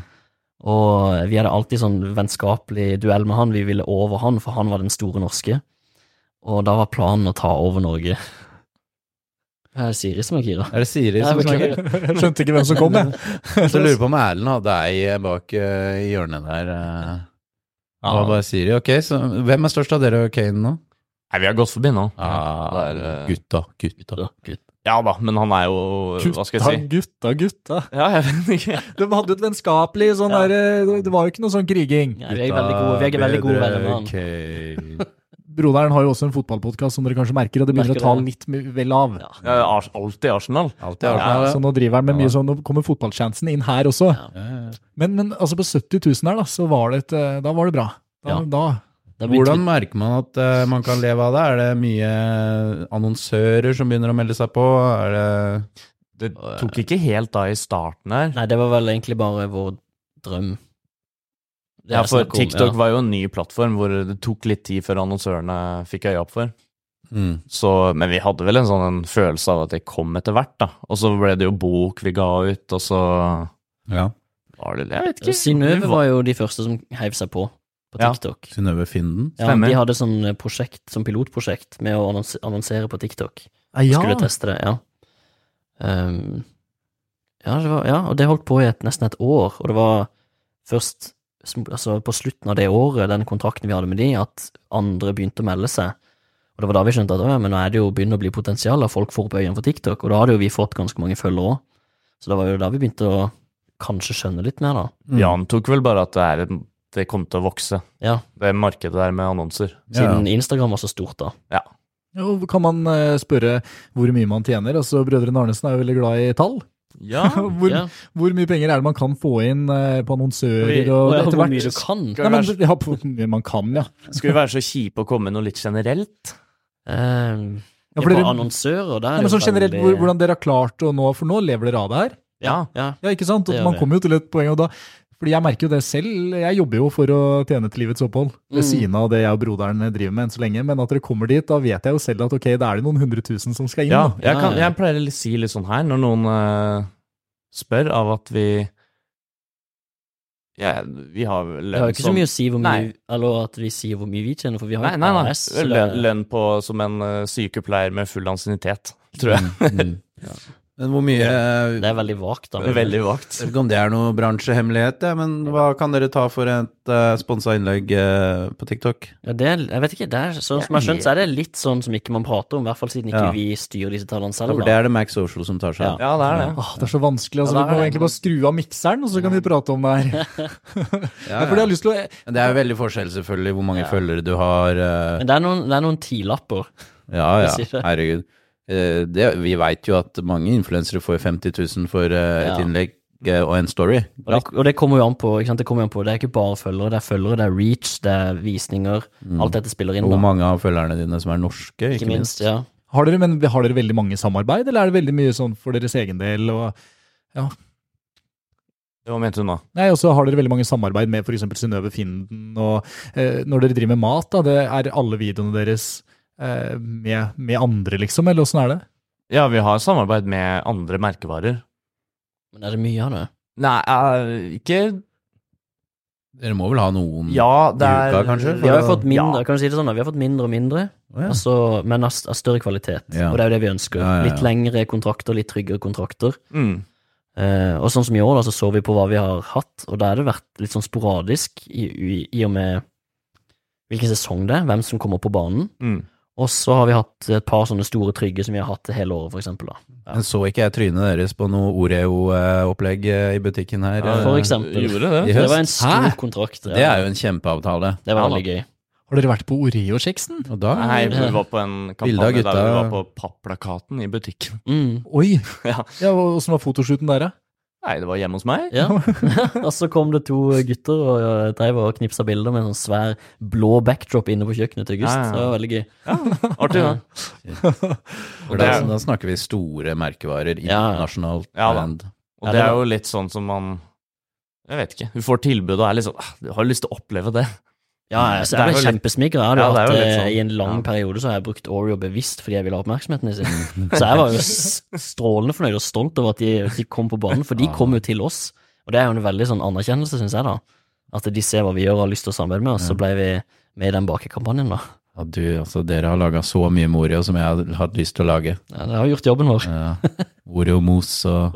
Og vi hadde alltid sånn vennskapelig duell med han. Vi ville over han, for han var den store norske. Og da var planen å ta over Norge. Det er Siri som er gira.
Er det Siri
Jeg
som snakker?
beklager.
Jeg skjønte ikke hvem som kom, jeg.
Så lurer jeg på om Erlend hadde ei bak eh, i hjørnet der. eh. Det var bare Siri. Ok, så hvem er størst av dere og Kane nå?
Nei, vi har gått forbi nå.
Ah,
det er, eh,
gutta, gutta.
Ja, gutt.
Ja da, men han er jo Hva skal jeg si?
Gutta, gutta,
Ja, jeg vet ikke.
gutta. De hadde et vennskapelig sånn
Ja.
der eh, Det var jo ikke noe sånn kriging.
Ja, vi er veldig gode, vi er veldig gode venner med han.
han.
Broderen har jo også en fotballpodkast, som dere kanskje merker, og det begynner
Merker
å ta
det.
litt mer- vel av.
Ja.
Jeg er Ars- alltid Arsenal.
Alltid
Ja, så
Arsenal.
nå driver han med
Ja.
mye sånn, nå kommer fotballsjansen inn her også.
Ja.
Ja, ja.
Men, men altså på 70 000 her, da, så var det, et, eh, da var det bra. Da,
Ja.
da.
Da begynte
Hvordan merker man at eh, man kan leve av det? Er det mye annonsører som begynner å melde seg på? Er det
Det tok ikke helt av i starten her.
vi- Nei, det var vel egentlig bare vår drøm. Det
Ja,
jeg
for
snakker om,
TikTok
ja.
var jo en ny plattform hvor det tok litt tid før annonsørene fikk øya opp for.
mm.
Så, men vi hadde vel en sånn en følelse av at det kom etter hvert, da. Og så ble det jo bok vi ga ut, og så
Ja.
var det Jeg vet ikke.
Synnøve var jo de første som heiv seg på på
Ja.
TikTok.
Synnøve Finden.
Ja,
Stemmer.
de hadde sånn prosjekt, sånn pilotprosjekt med å annonse- annonsere på TikTok.
Ja,
Skulle teste det, Ah, ja. Ehm, ja, det var, ja, og det holdt på i et, nesten et år, og det var først sm- altså, på slutten av det året, den kontrakten vi hadde med de, at andre begynte å melde seg. Og det var da vi skjønte at «Å ja, men nå er det jo begynner å bli potensial, og folk får opp øynene for TikTok, og da hadde jo vi fått ganske mange følgere òg. Så det var jo da vi begynte å kanskje skjønne litt mer, da.
Mm.
Vi antok vel bare at det, er, en- det kom til å vokse,
Ja,
det markedet der med annonser.
Siden Instagram var så stort, da.
Jo, kan man eh, spørre hvor mye man tjener? Altså, Brødrene Arnesen er jo veldig glad i tall.
Ja,
Hvor,
Ja.
hvor mye penger er det man kan få inn eh, på annonsører
Og
og
ja,
etter
hvor mye
hvert?
du kan.
Nei, men, ja, på, hvor mye man kan, ja.
Skulle vi være så kjipe og komme med noe litt generelt?
Ehm,
ja,
ja,
for
på
dere,
annonsører, der
ja men sånn generelt, hvor, hvordan dere har klart å nå, for nå lever dere av det her.
ja, ja.
Ja, ikke sant?
Det
Og
gjør
man
vi.
kommer jo til et poeng, og da fordi jeg merker jo det selv, jeg jobber jo for å tjene til livets opphold, ved
Mm.
siden av det jeg og broderen driver med enn så lenge, men at dere kommer dit, da vet jeg jo selv at ok, da er det noen hundre tusen som skal inn.
Ja,
da.
jeg, kan,
Ja, ja.
jeg pleier å litt si litt sånn her når noen eh, spør av at vi ja, Vi har vel
Det har jo ikke så mye å si hvor mye,
Nei.
eller at vi sier hvor mye vi tjener, for vi har
Nei,
jo
nei, nei.
AS. så det-
Lønn, lønn på som en eh, sykepleier med full ansiennitet, tror jeg.
Mm. Men hvor mye Jeg
Det er veldig vagt, da.
Veldig vagt.
vet ikke om det er noe bransjehemmelighet, ja, men hva kan dere ta for et uh, sponsa innlegg eh, på TikTok?
Ja, det er, jeg vet ikke, det er, sånn som jeg har skjønt, så er det litt sånn som ikke man prater om, i hvert fall siden ikke
Ja.
vi styrer disse tallene selv.
For det
Da.
er det Max Social som tar seg av.
Ja, det er det.
Åh, det er så vanskelig. altså. vi
Ja, det
må
er det.
egentlig bare skru av mikseren, og så kan vi prate om det her.
Ja,
Fordi jeg har lyst til å...
Men Det er jo veldig forskjell, selvfølgelig, hvor mange følgere du har. eh,
Men det er noen, det er noen tilapper.
Ja, ja,
sier det.
herregud. Eh, Det, vi veit jo at mange influensere får 50 000 for eh, et
Ja.
innlegg eh, og en story.
Og det, og det kommer jo an på, ikke sant? Det, kommer jo an på, det er ikke bare følgere, det er følgere, det er reach, det er visninger. Alt dette spiller inn,
Hvor
da.
mange av følgerne dine som er norske,
Mm. Ikke minst, ja.
Har, dere, men, har dere veldig mange samarbeid, eller er det veldig mye sånn for deres egen del? Og...
Hva mente du nå?
Nei, og så har dere veldig mange samarbeid med f.eks. Synnøve Finden. Og eh, når dere driver med mat, da, det er alle videoene deres eh, med, med andre, liksom? Eller åssen er det?
Ja, vi har samarbeid med andre merkevarer.
Men er det mye av det?
Nei, eh, ikke
Dere må vel ha noen
Ja, det er
Uka, Mm. kanskje?
Vi har jo
Ja.
fått mindre, kan du si det sånn da, vi har fått mindre og mindre,
Å, ja.
altså, men av, s- av større kvalitet.
Ja.
Og det er jo det vi ønsker.
Ja, ja, ja.
Litt lengre kontrakter, litt tryggere kontrakter.
Mm.
Eh, og sånn som i år, da, så så vi på hva vi har hatt, og da har det vært litt sånn sporadisk i, i, i og med hvilken sesong det er, hvem som kommer på banen.
Mm.
Og så har vi hatt et par sånne store trygge som vi har hatt hele året, for eksempel. Da.
Men så ikke jeg trynet deres på noe Oreo-opplegg i butikken her?
Ja,
eh,
For eksempel.
Gjorde det.
I
Det
høst?
var en stor
Hæ?
kontrakt.
Det er jo en kjempeavtale.
det var
Ja, da.
veldig gøy.
Har dere vært på Oreo-kjeksen?
Og da
Nei, vi var på en
Bilde av
kampanje
gutta.
der vi var på papplakaten i butikken.
Mm,
Oi!
Ja.
Ja, og Åssen var fotoshooten der, da?
Nei, det var hjemme hos meg.
ja. og så kom det to gutter og eh, drev og knipsa bilder med en sånn svær blå backdrop inne på kjøkkenet til August.
Ja, ja.
Det var veldig gøy.
Artig, da.
For da, da snakker vi store merkevarer,
Ja, ja.
internasjonalt
Ja, da.
brand.
Og
Ja,
det
det
er
var-
jo litt sånn som man Jeg vet ikke. Du får tilbud og er litt sånn «Ah, Du har lyst til å oppleve det.
Ja, jeg, så
Mm. Det er
jeg ble
jo litt-
kjempesmigra. Jeg hadde
Ja, det er
hatt,
jo litt
eh,
sånn.
I en lang
Ja.
periode så har jeg brukt Oreo bevisst fordi jeg ville ha oppmerksomheten sin. Så jeg var jo s- strålende fornøyd og stolt over at de, de kom på banen, for de
Ja.
kom jo til oss. Og det er jo en veldig sånn anerkjennelse, syns jeg, da. At de ser hva vi gjør og har lyst til å samarbeide med oss. Så ble vi med i den bakekampanjen, da.
Ja, du, altså, dere har laga så mye med Oreo som jeg hadde hatt lyst til å lage.
Ja, det har gjort jobben vår.
Ja. Oreo-mos og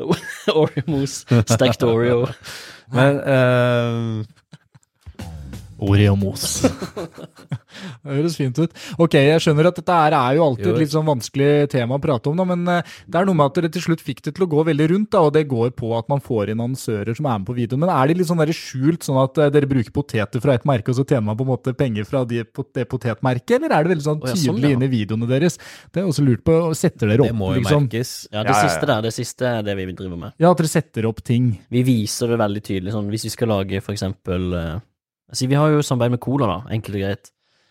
Oreo-mos. Stekt Oreo.
Men eh,
Oreo-mos. det høres fint ut. Ok, jeg skjønner at dette her er jo alltid
Jo.
et litt sånn vanskelig tema å prate om, da, men eh, det er noe med at dere til slutt fikk det til å gå veldig rundt, da, og det går på at man får inn annonsører som er med på videoen. Men er de litt sånn der skjult, sånn at eh, dere bruker poteter fra et merke, og så tjener man på en måte penger fra de, på det potetmerket, eller er det veldig sånn
Å, ja,
tydelig
sånn, ja.
inn i videoene deres? Det er jeg også lurt på. og Setter dere
det
opp,
må jo
liksom?
merkes.
Ja,
Ja,
det
ja, ja.
siste der, det siste er det vi driver med.
Ja, at dere setter opp ting.
Vi viser det veldig tydelig. Sånn, hvis vi skal lage for eksempel eh, altså, Vi har jo samarbeid med Cola, da, enkelt og greit.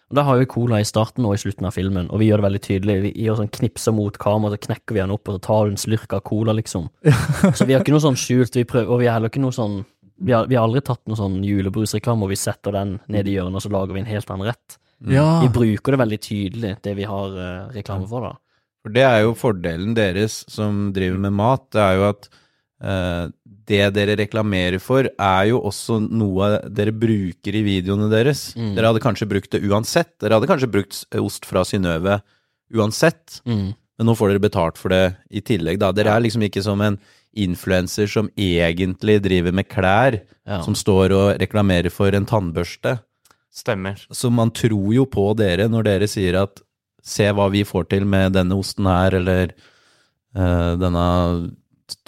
Og Da har jo Cola i starten og i slutten av filmen, og vi gjør det veldig tydelig. Vi gjør sånn knipser mot kamera, så knekker vi den opp, og så tar du en slurk av Cola, liksom. Så vi har ikke noe sånn skjult, vi prøver, og vi har heller ikke noe sånn vi har, vi har aldri tatt noe sånn julebrusreklame hvor vi setter den ned i hjørnet, og så lager vi en helt annen rett.
Mm.
Ja.
Vi bruker det veldig tydelig, det vi har eh, reklame for, da.
For det er jo fordelen deres som driver med mat, det er jo at eh, det dere reklamerer for, er jo også noe dere bruker i videoene deres.
Mm.
Dere hadde kanskje brukt det uansett. Dere hadde kanskje brukt ost fra Synnøve uansett,
Mm.
men nå får dere betalt for det i tillegg, da. Dere er liksom ikke som en influenser som egentlig driver med klær,
Ja.
som står og reklamerer for en tannbørste.
Stemmer.
Så man tror jo på dere når dere sier at se hva vi får til med denne osten her, eller eh, denne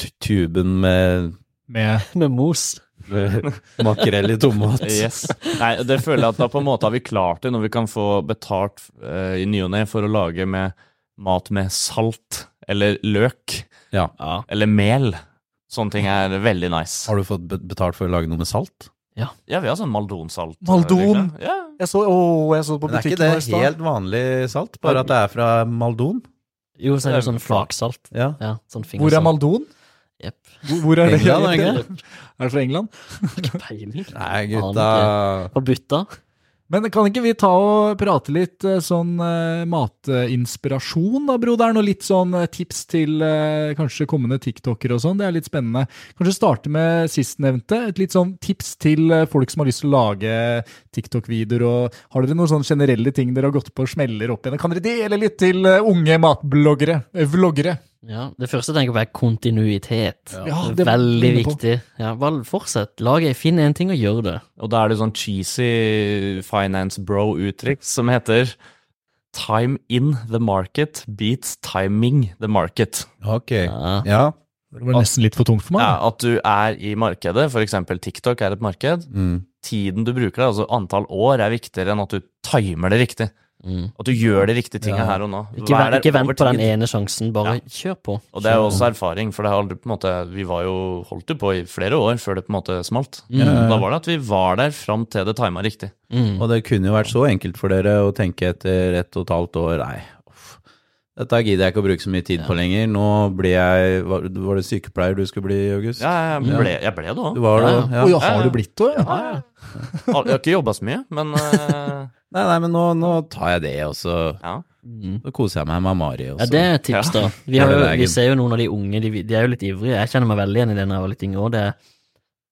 t- tuben med
Med
Med mos.
makrell i tomat.
Yes. Nei, det føler jeg at da på en måte har vi klart det, når vi kan få betalt eh, i ny og ne for å lage med mat med salt eller løk
Ja.
Ja.
eller mel. Sånne ting er veldig nice.
Har du fått be- betalt for å lage noe med salt?
Ja, vi har sånn maldonsalt.
Maldon?
Ja.
Jeg så, å, jeg så det på
Men er ikke
butikken
det
nå i stad.
helt vanlig salt, bare at det er fra Maldon?
Jo, så er det jo sånn flaksalt.
Ja.
Ja, sånn fingersalt.
Hvor er Maldon?
Jepp.
Hvor, hvor er det?
England, er det ikke
Er det fra England?
Ikke peiling.
Nei,
gutta.
gutta
På butta.
Men kan ikke vi ta og prate litt eh, sånn eh, matinspirasjon da, broderen, og litt sånn eh, tips til eh, kanskje kommende tiktokere og sånn? Det er litt spennende. Kanskje starte med sistnevnte. Et litt sånn tips til eh, folk som har lyst til å lage TikTok-videoer. og Har dere noen sånne generelle ting dere har gått på og smeller opp igjen? Kan dere dele litt til eh, unge matbloggere? eh, Vloggere?
Ja, det første jeg tenker på, er kontinuitet.
Ja.
Ja,
det
Ah, det
er
var-
veldig
inne på.
viktig. Ja, bare fortsett. Lag ei, finn en ting og gjør det.
Og da er det sånn cheesy finance bro-uttrykk som heter Time in the market beats timing the market.
Ok.
Ja.
Ja.
Det var nesten litt for tungt for meg.
Ja, at du er i markedet, f.eks. TikTok er et marked.
Mm.
Tiden du bruker, altså antall år, er viktigere enn at du timer det riktig.
Mm.
At du gjør de riktige tingene
Ja.
her og nå.
Ikke,
Vær
vent-
der
ikke vent
over
på den
tid.
ene sjansen, bare kjør på.
Og det er jo også erfaring, for det har aldri på en måte Vi var jo holdt jo på i flere år før det på en måte smalt.
Mm.
Da var det at vi var der fram til det tima riktig.
Mm.
Og det kunne jo vært så enkelt for dere å tenke etter ett og et halvt år Nei, uff, dette gidder jeg ikke å bruke så mye tid på lenger. Nå blir jeg Var var det sykepleier du skulle bli, August?
Ja, jeg ble, jeg ble det òg.
Du var det,
Ja,
ja.
Å ja, har du blitt det? Ja.
Ah, Ja, ja. Al- Jeg har ikke jobba så mye, men eh,
Nei, nei, men nå, nå tar jeg det, og så
ja.
Mm.
nå koser jeg meg med Mari. Og
Ja,
så.
det er et tips, da. Vi,
Ja,
har
det
jo,
er
vi
good.
ser jo noen av de unge, de, de er jo litt ivrige. Jeg kjenner meg veldig igjen i det da jeg var litt yngre. og det er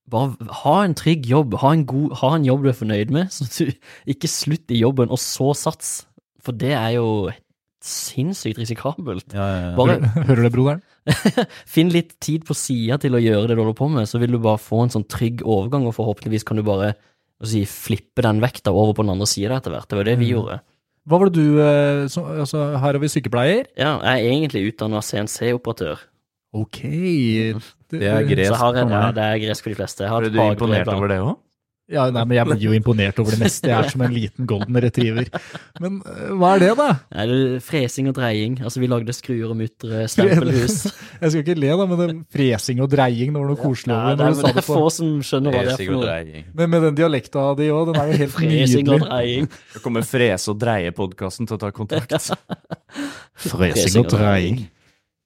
Bare ha en trygg jobb, ha en, god, ha en jobb du er fornøyd med, så du ikke slutt i jobben, og så sats. For det er jo sinnssykt risikabelt.
Ja, ja, ja.
Bare
Hører du det, broderen?
finn litt tid på sida til å gjøre det du holder på med, så vil du bare få en sånn trygg overgang, og forhåpentligvis kan du bare hva skal jeg si, flippe den vekta over på den andre sida etter hvert. Det var jo det vi gjorde.
Hva var det du eh, som, altså, Her har vi sykepleier.
Ja, jeg er egentlig utdanna CNC-operatør,
Ok.
Mhm.
Det er
så
gresk.
jeg har en, ja,
kommer det.
det er gresk for de fleste. Jeg har
Ble
et
du imponert
fagbrev blant-
over det òg?
Ja, nei, men Jeg blir jo imponert over det meste. Jeg er som en liten golden retriever. Men eh, hva er det, da?
Nei, det er fresing og dreying. Altså, vi lagde skruer og muttere, stempelhus.
Jeg skal ikke le, da, men den fresing og dreying det var noe koselig
Ja,
over
det, er,
når
men
du sa
det
det
er
på.
få som skjønner hva det er for noe.
Men med den dialekta di òg, den er jo helt
Fresing og
nydelig.
dreying.
Så kommer Frese og Dreie-podkasten til å ta kontakt.
Fresing og dreying.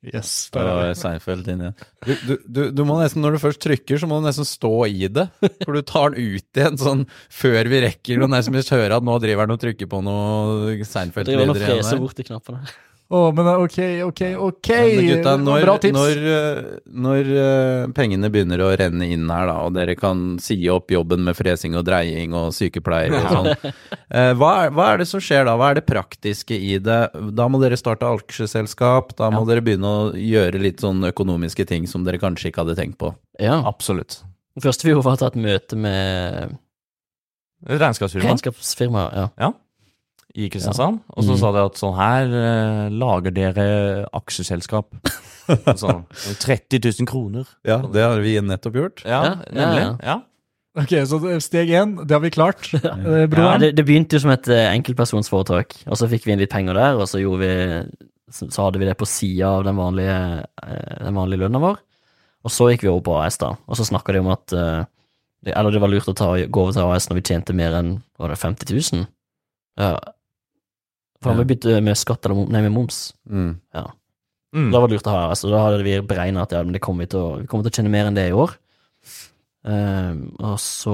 Yes,
Det
der er det.
var Seinfeld inne. Du, du, du, du må nesten, når du først trykker, så må du nesten stå i det. For du tar den ut igjen sånn før vi rekker, og nesten vil høre at nå driver han og trykker på noe
Jeg driver
Seinfeld-lyder
og
igjen
freser
her.
bort i knappene.
Å, men eh, ok, ok, ok.
Men gutta, når,
Bra tips.
når, eh, når eh, pengene begynner å renne inn her, da, og dere kan si opp jobben med fresing og dreying og sykepleier og sånn, eh, hva, er- hva er det som skjer da? Hva er det praktiske i det? Da må dere starte aksjeselskap, da må dere begynne å gjøre litt sånn økonomiske ting som dere kanskje ikke hadde tenkt på.
Ja.
Absolutt.
Det første vi gjorde, var å ta et møte med
Regnskapsfirma
regnskapsfirmaet. Ja.
i Kristiansand. Og så sa de at sånn her eh, lager dere aksjeselskap. Og Sånn 30 000 kroner.
Ja, det har vi nettopp gjort.
Ja,
Ja, ja,
nemlig.
ja.
Ja.
Ok, så det- steg én, det har vi klart. Eh,
Ja,
Broren.
det, det begynte jo som et eh, enkeltpersonsforetak, og så fikk vi inn litt penger der, og så, gjorde vi, så, så hadde vi det på sida av den vanlige, eh, den vanlige lønna vår. Og så gikk vi over på AS, da, og så snakka de om at eh, det, Eller det var lurt å ta, gå over til AS når vi tjente mer enn var det 50 000. Ja. For da vi begynte med skatt eller mom- nei, med moms.
Mm.
Mm.
Da var det lurt å ha AS, og da hadde vi beregna at ja, men det kommer vi, til å, vi kommer til å tjene mer enn det i år. Ehm, og så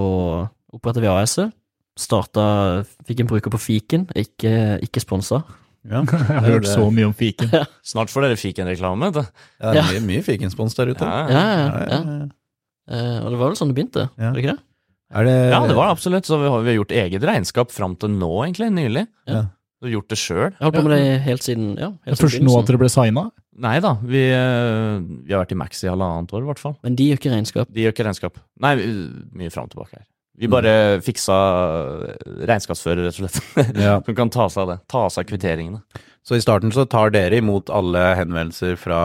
oppretta vi AS-et. Starta Fikk en bruker på fiken, ikke, ikke sponsa.
Ja.
Jeg har hørt så mye om fiken.
Snart får dere fikk en reklame. Da.
Ja, det er mye, mye fikenspons der ute.
Ja,
Ja.
ja,
Ja,
ja.
ja, ja.
Eh, og det var vel sånn det begynte, var
Ja.
det ikke det?
Er det,
ja, det var det absolutt. Så vi har, vi har gjort eget regnskap fram til nå, egentlig. Nylig.
Ja.
Du har gjort det sjøl.
Jeg holdt på med det helt siden ja, helt siden
Først nå
begynnelsen.
at dere ble signa?
Nei da, vi, eh, vi har vært i Max i halvannet år, i hvert fall.
Men de gjør ikke regnskap.
De gjør ikke regnskap. Nei, vi- mye fram og tilbake her. Vi bare fiksa regnskapsfører, rett og slett.
Ja.
Som kan ta seg av det. Ta seg av kvitteringene.
Så i starten så tar dere imot alle henvendelser fra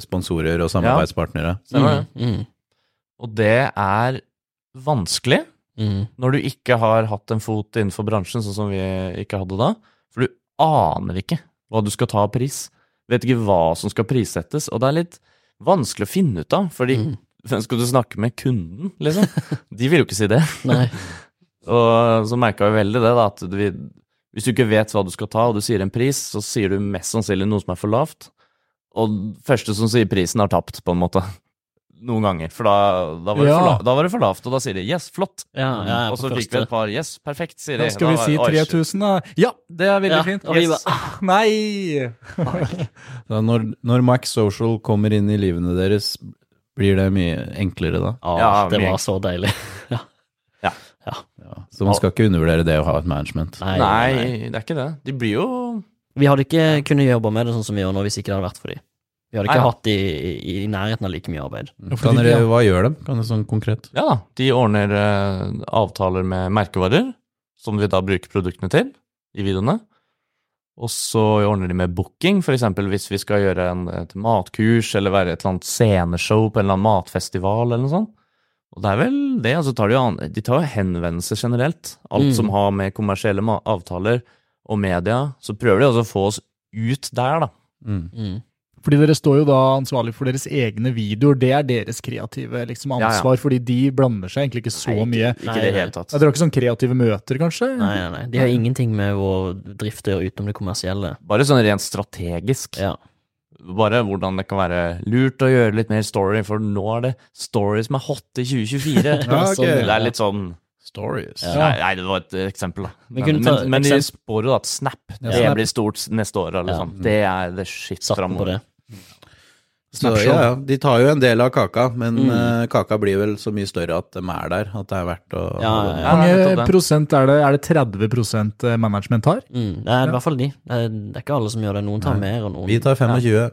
sponsorer og samarbeidspartnere.
Stemmer det?
Mm,
Og det er vanskelig
mm, mm.
når du ikke har hatt en fot innenfor bransjen, sånn som vi ikke hadde da. For du aner ikke hva du skal ta av pris. Vet ikke hva som skal prissettes. Og det er litt vanskelig å finne ut av, fordi
Mm.
hvem skal du snakke med? Kunden, liksom? De vil jo ikke si det.
Nei.
Og så merka vi veldig det, da, at vi, hvis du ikke vet hva du skal ta, og du sier en pris, så sier du mest sannsynlig noe som er for lavt. Og den første som sier prisen, har tapt, på en måte. Noen ganger. For da, da, var, det
Ja.
for lavt, da var det for lavt, og da sier de 'yes, flott'.
Ja, ja,
og så
på
fikk vi
første.
et par 'yes, perfekt', sier de.
Ja, skal vi
Da
si
var- oi, shit.
3000, da? Ja, det er veldig
Ja,
fint.
og vi
Yes. Ah, Nei!
Så når, når Max Social kommer inn i livene deres, blir det mye enklere da.
Ja,
Ja,
det
mye.
var så deilig.
Så man skal ikke undervurdere det å ha et management.
Nei,
Nei, det er ikke det. De blir jo
Vi hadde ikke kunnet jobbe med det sånn som vi gjør nå, hvis ikke det hadde vært for dem. Vi hadde
Nei,
ikke
ja.
hatt i, i, i nærheten av like mye arbeid.
fordi
Kan dere,
de-
hva gjør de? Kan det sånn konkret?
Ja da, de ordner eh, avtaler med merkevarer, som vi da bruker produktene til i videoene. Og så ordner de med booking, f.eks. hvis vi skal gjøre en, et matkurs eller være et eller annet sceneshow på en eller annen matfestival eller noe sånt. Og det er vel det, altså tar de, jo an, de tar jo henvendelser generelt. Alt
Mm.
som har med kommersielle ma avtaler og media, så prøver de også å få oss ut der, da.
Mm.
Mm.
Fordi dere står jo da ansvarlig for deres egne videoer. Det er deres kreative liksom,
ja.
ansvar, fordi de blander seg egentlig ikke så
Nei, ikke-
mye.
Ikke
Nei,
i det
nei.
hele tatt.
Ja, dere har ikke sånn kreative møter, kanskje?
Nei, nei, nei. De har ingenting med vår drift å gjøre utenom det kommersielle.
Bare sånn rent strategisk.
Ja.
bare hvordan det kan være lurt å gjøre litt mer story, for nå er det story som er hot i 2024.
Ja, ok.
Så Det er litt sånn
Stories.
Ja.
nei, nei, det var et eksempel, da.
Vi
Men,
kunne
men,
ta
men, de
eksempel-
spår jo at Snap det
Snap.
blir stort neste år. Eller
Ja.
sånn. Det er the shit
Satt på
framover.
det.
Så, ja, ja, de tar jo en del av kaka, men
Mm.
eh, kaka blir vel så mye større at de er der, at det er verdt
Ja, ja,
å
ja.
Ja,
Hvor
nei,
mange
nettopp det.
prosent er det? Er det 30 management har?
Mm. Nei, i hvert fall de. Det er det er ikke alle som gjør det. Noen tar mer, og noen
Vi tar 25.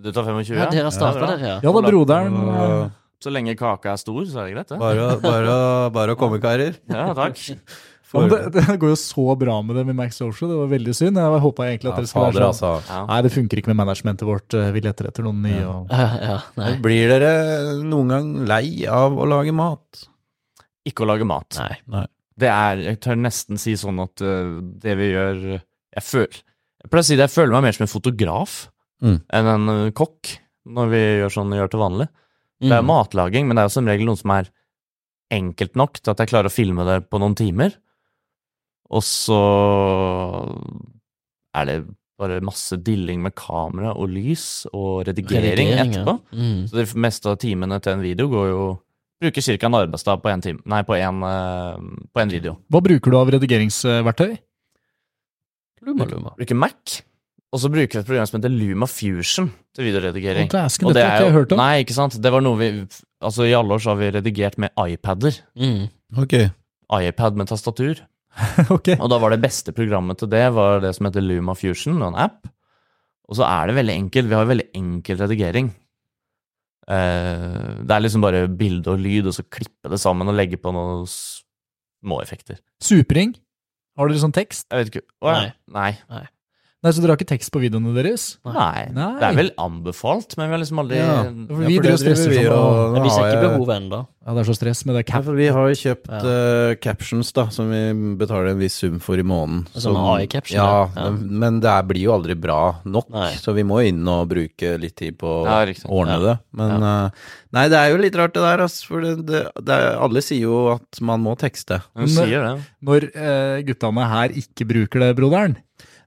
Du tar 25?
Ja, dere har startet
Ja, det er bra.
dere, ja.
Ja da, broderen.
Og
Så lenge kaka er stor, så er det greit, det.
Bare, å- bare, å- bare å komme, karer.
Ja, takk.
Ja, men det, det går jo så bra med det med Max Social, det var veldig synd. Jeg håpa egentlig at
Ja,
dere skulle
fader,
være sånn.
altså.
Nei, det funker ikke med managementet vårt. eh, Vi leter etter noen nye. Og...
Ja, nei.
Blir dere noen gang lei av å lage mat?
Ikke å lage mat.
nei.
Det er Jeg tør nesten si sånn at øh, det vi gjør øh, Jeg føler Jeg pleier å si det, jeg føler meg mer som en fotograf
Mm.
enn en øh, kokk, når vi gjør sånn vi gjør til vanlig. Det er
Mhm.
Mm.
matlaging, men det er jo som regel noe som er enkelt nok til at jeg klarer å filme det på noen timer. Og så er det bare masse dilling med kamera og lys og redigering,
Redigering, ja.
etterpå.
Mm.
Så det meste av timene til en video går jo Bruker ca. en arbeidsdag på en time, nei, på en, eh, på en video.
Hva bruker du av redigeringsverktøy?
Luma, luma.
Bruker Mac, og så bruker jeg et program som heter Luma Fusion til videoredigering.
Og dæsken, dette har ikke jeg hørt om.
Nei, ikke sant. Det var noe vi Altså, i alle år så har vi redigert med iPader.
Mm.
Ok.
iPad med tastatur.
Ok.
Og da var det beste programmet til det var det som heter Luma Fusion, en app. Og så er det veldig enkelt. Vi har veldig enkel redigering. Eh, det er liksom bare bilde og lyd, og så klippe det sammen og legge på noen småeffekter.
Supring? Har dere sånn tekst?
Jeg vet ikke Å, ja. Nei.
Nei, Så dere har ikke tekst på videoene deres?
Nei.
Nei.
Det er vel anbefalt, men vi har liksom aldri
Ja.
For
Ja,
vi
for
driver
det
og stresser
driver vi,
sånn, og-
og nå
Jeg viser
har
ikke
jeg-
behovet ennå.
Ja, det er så stress med det
Ja,
cap.
for vi har jo kjøpt
Ja.
eh, captions, da, som vi betaler en viss sum for i måneden.
Som AI-caption,
Ja,
ja.
men- men det er- blir jo aldri bra nok,
Nei.
så vi må inn og bruke litt tid på å
Ja, riktig.
ordne det. Men eh, nei, det er jo litt rart det der, ass, for det, det, det er, alle sier jo at man må tekste.
Hun sier det.
Når eh, guttene her ikke bruker det, broderen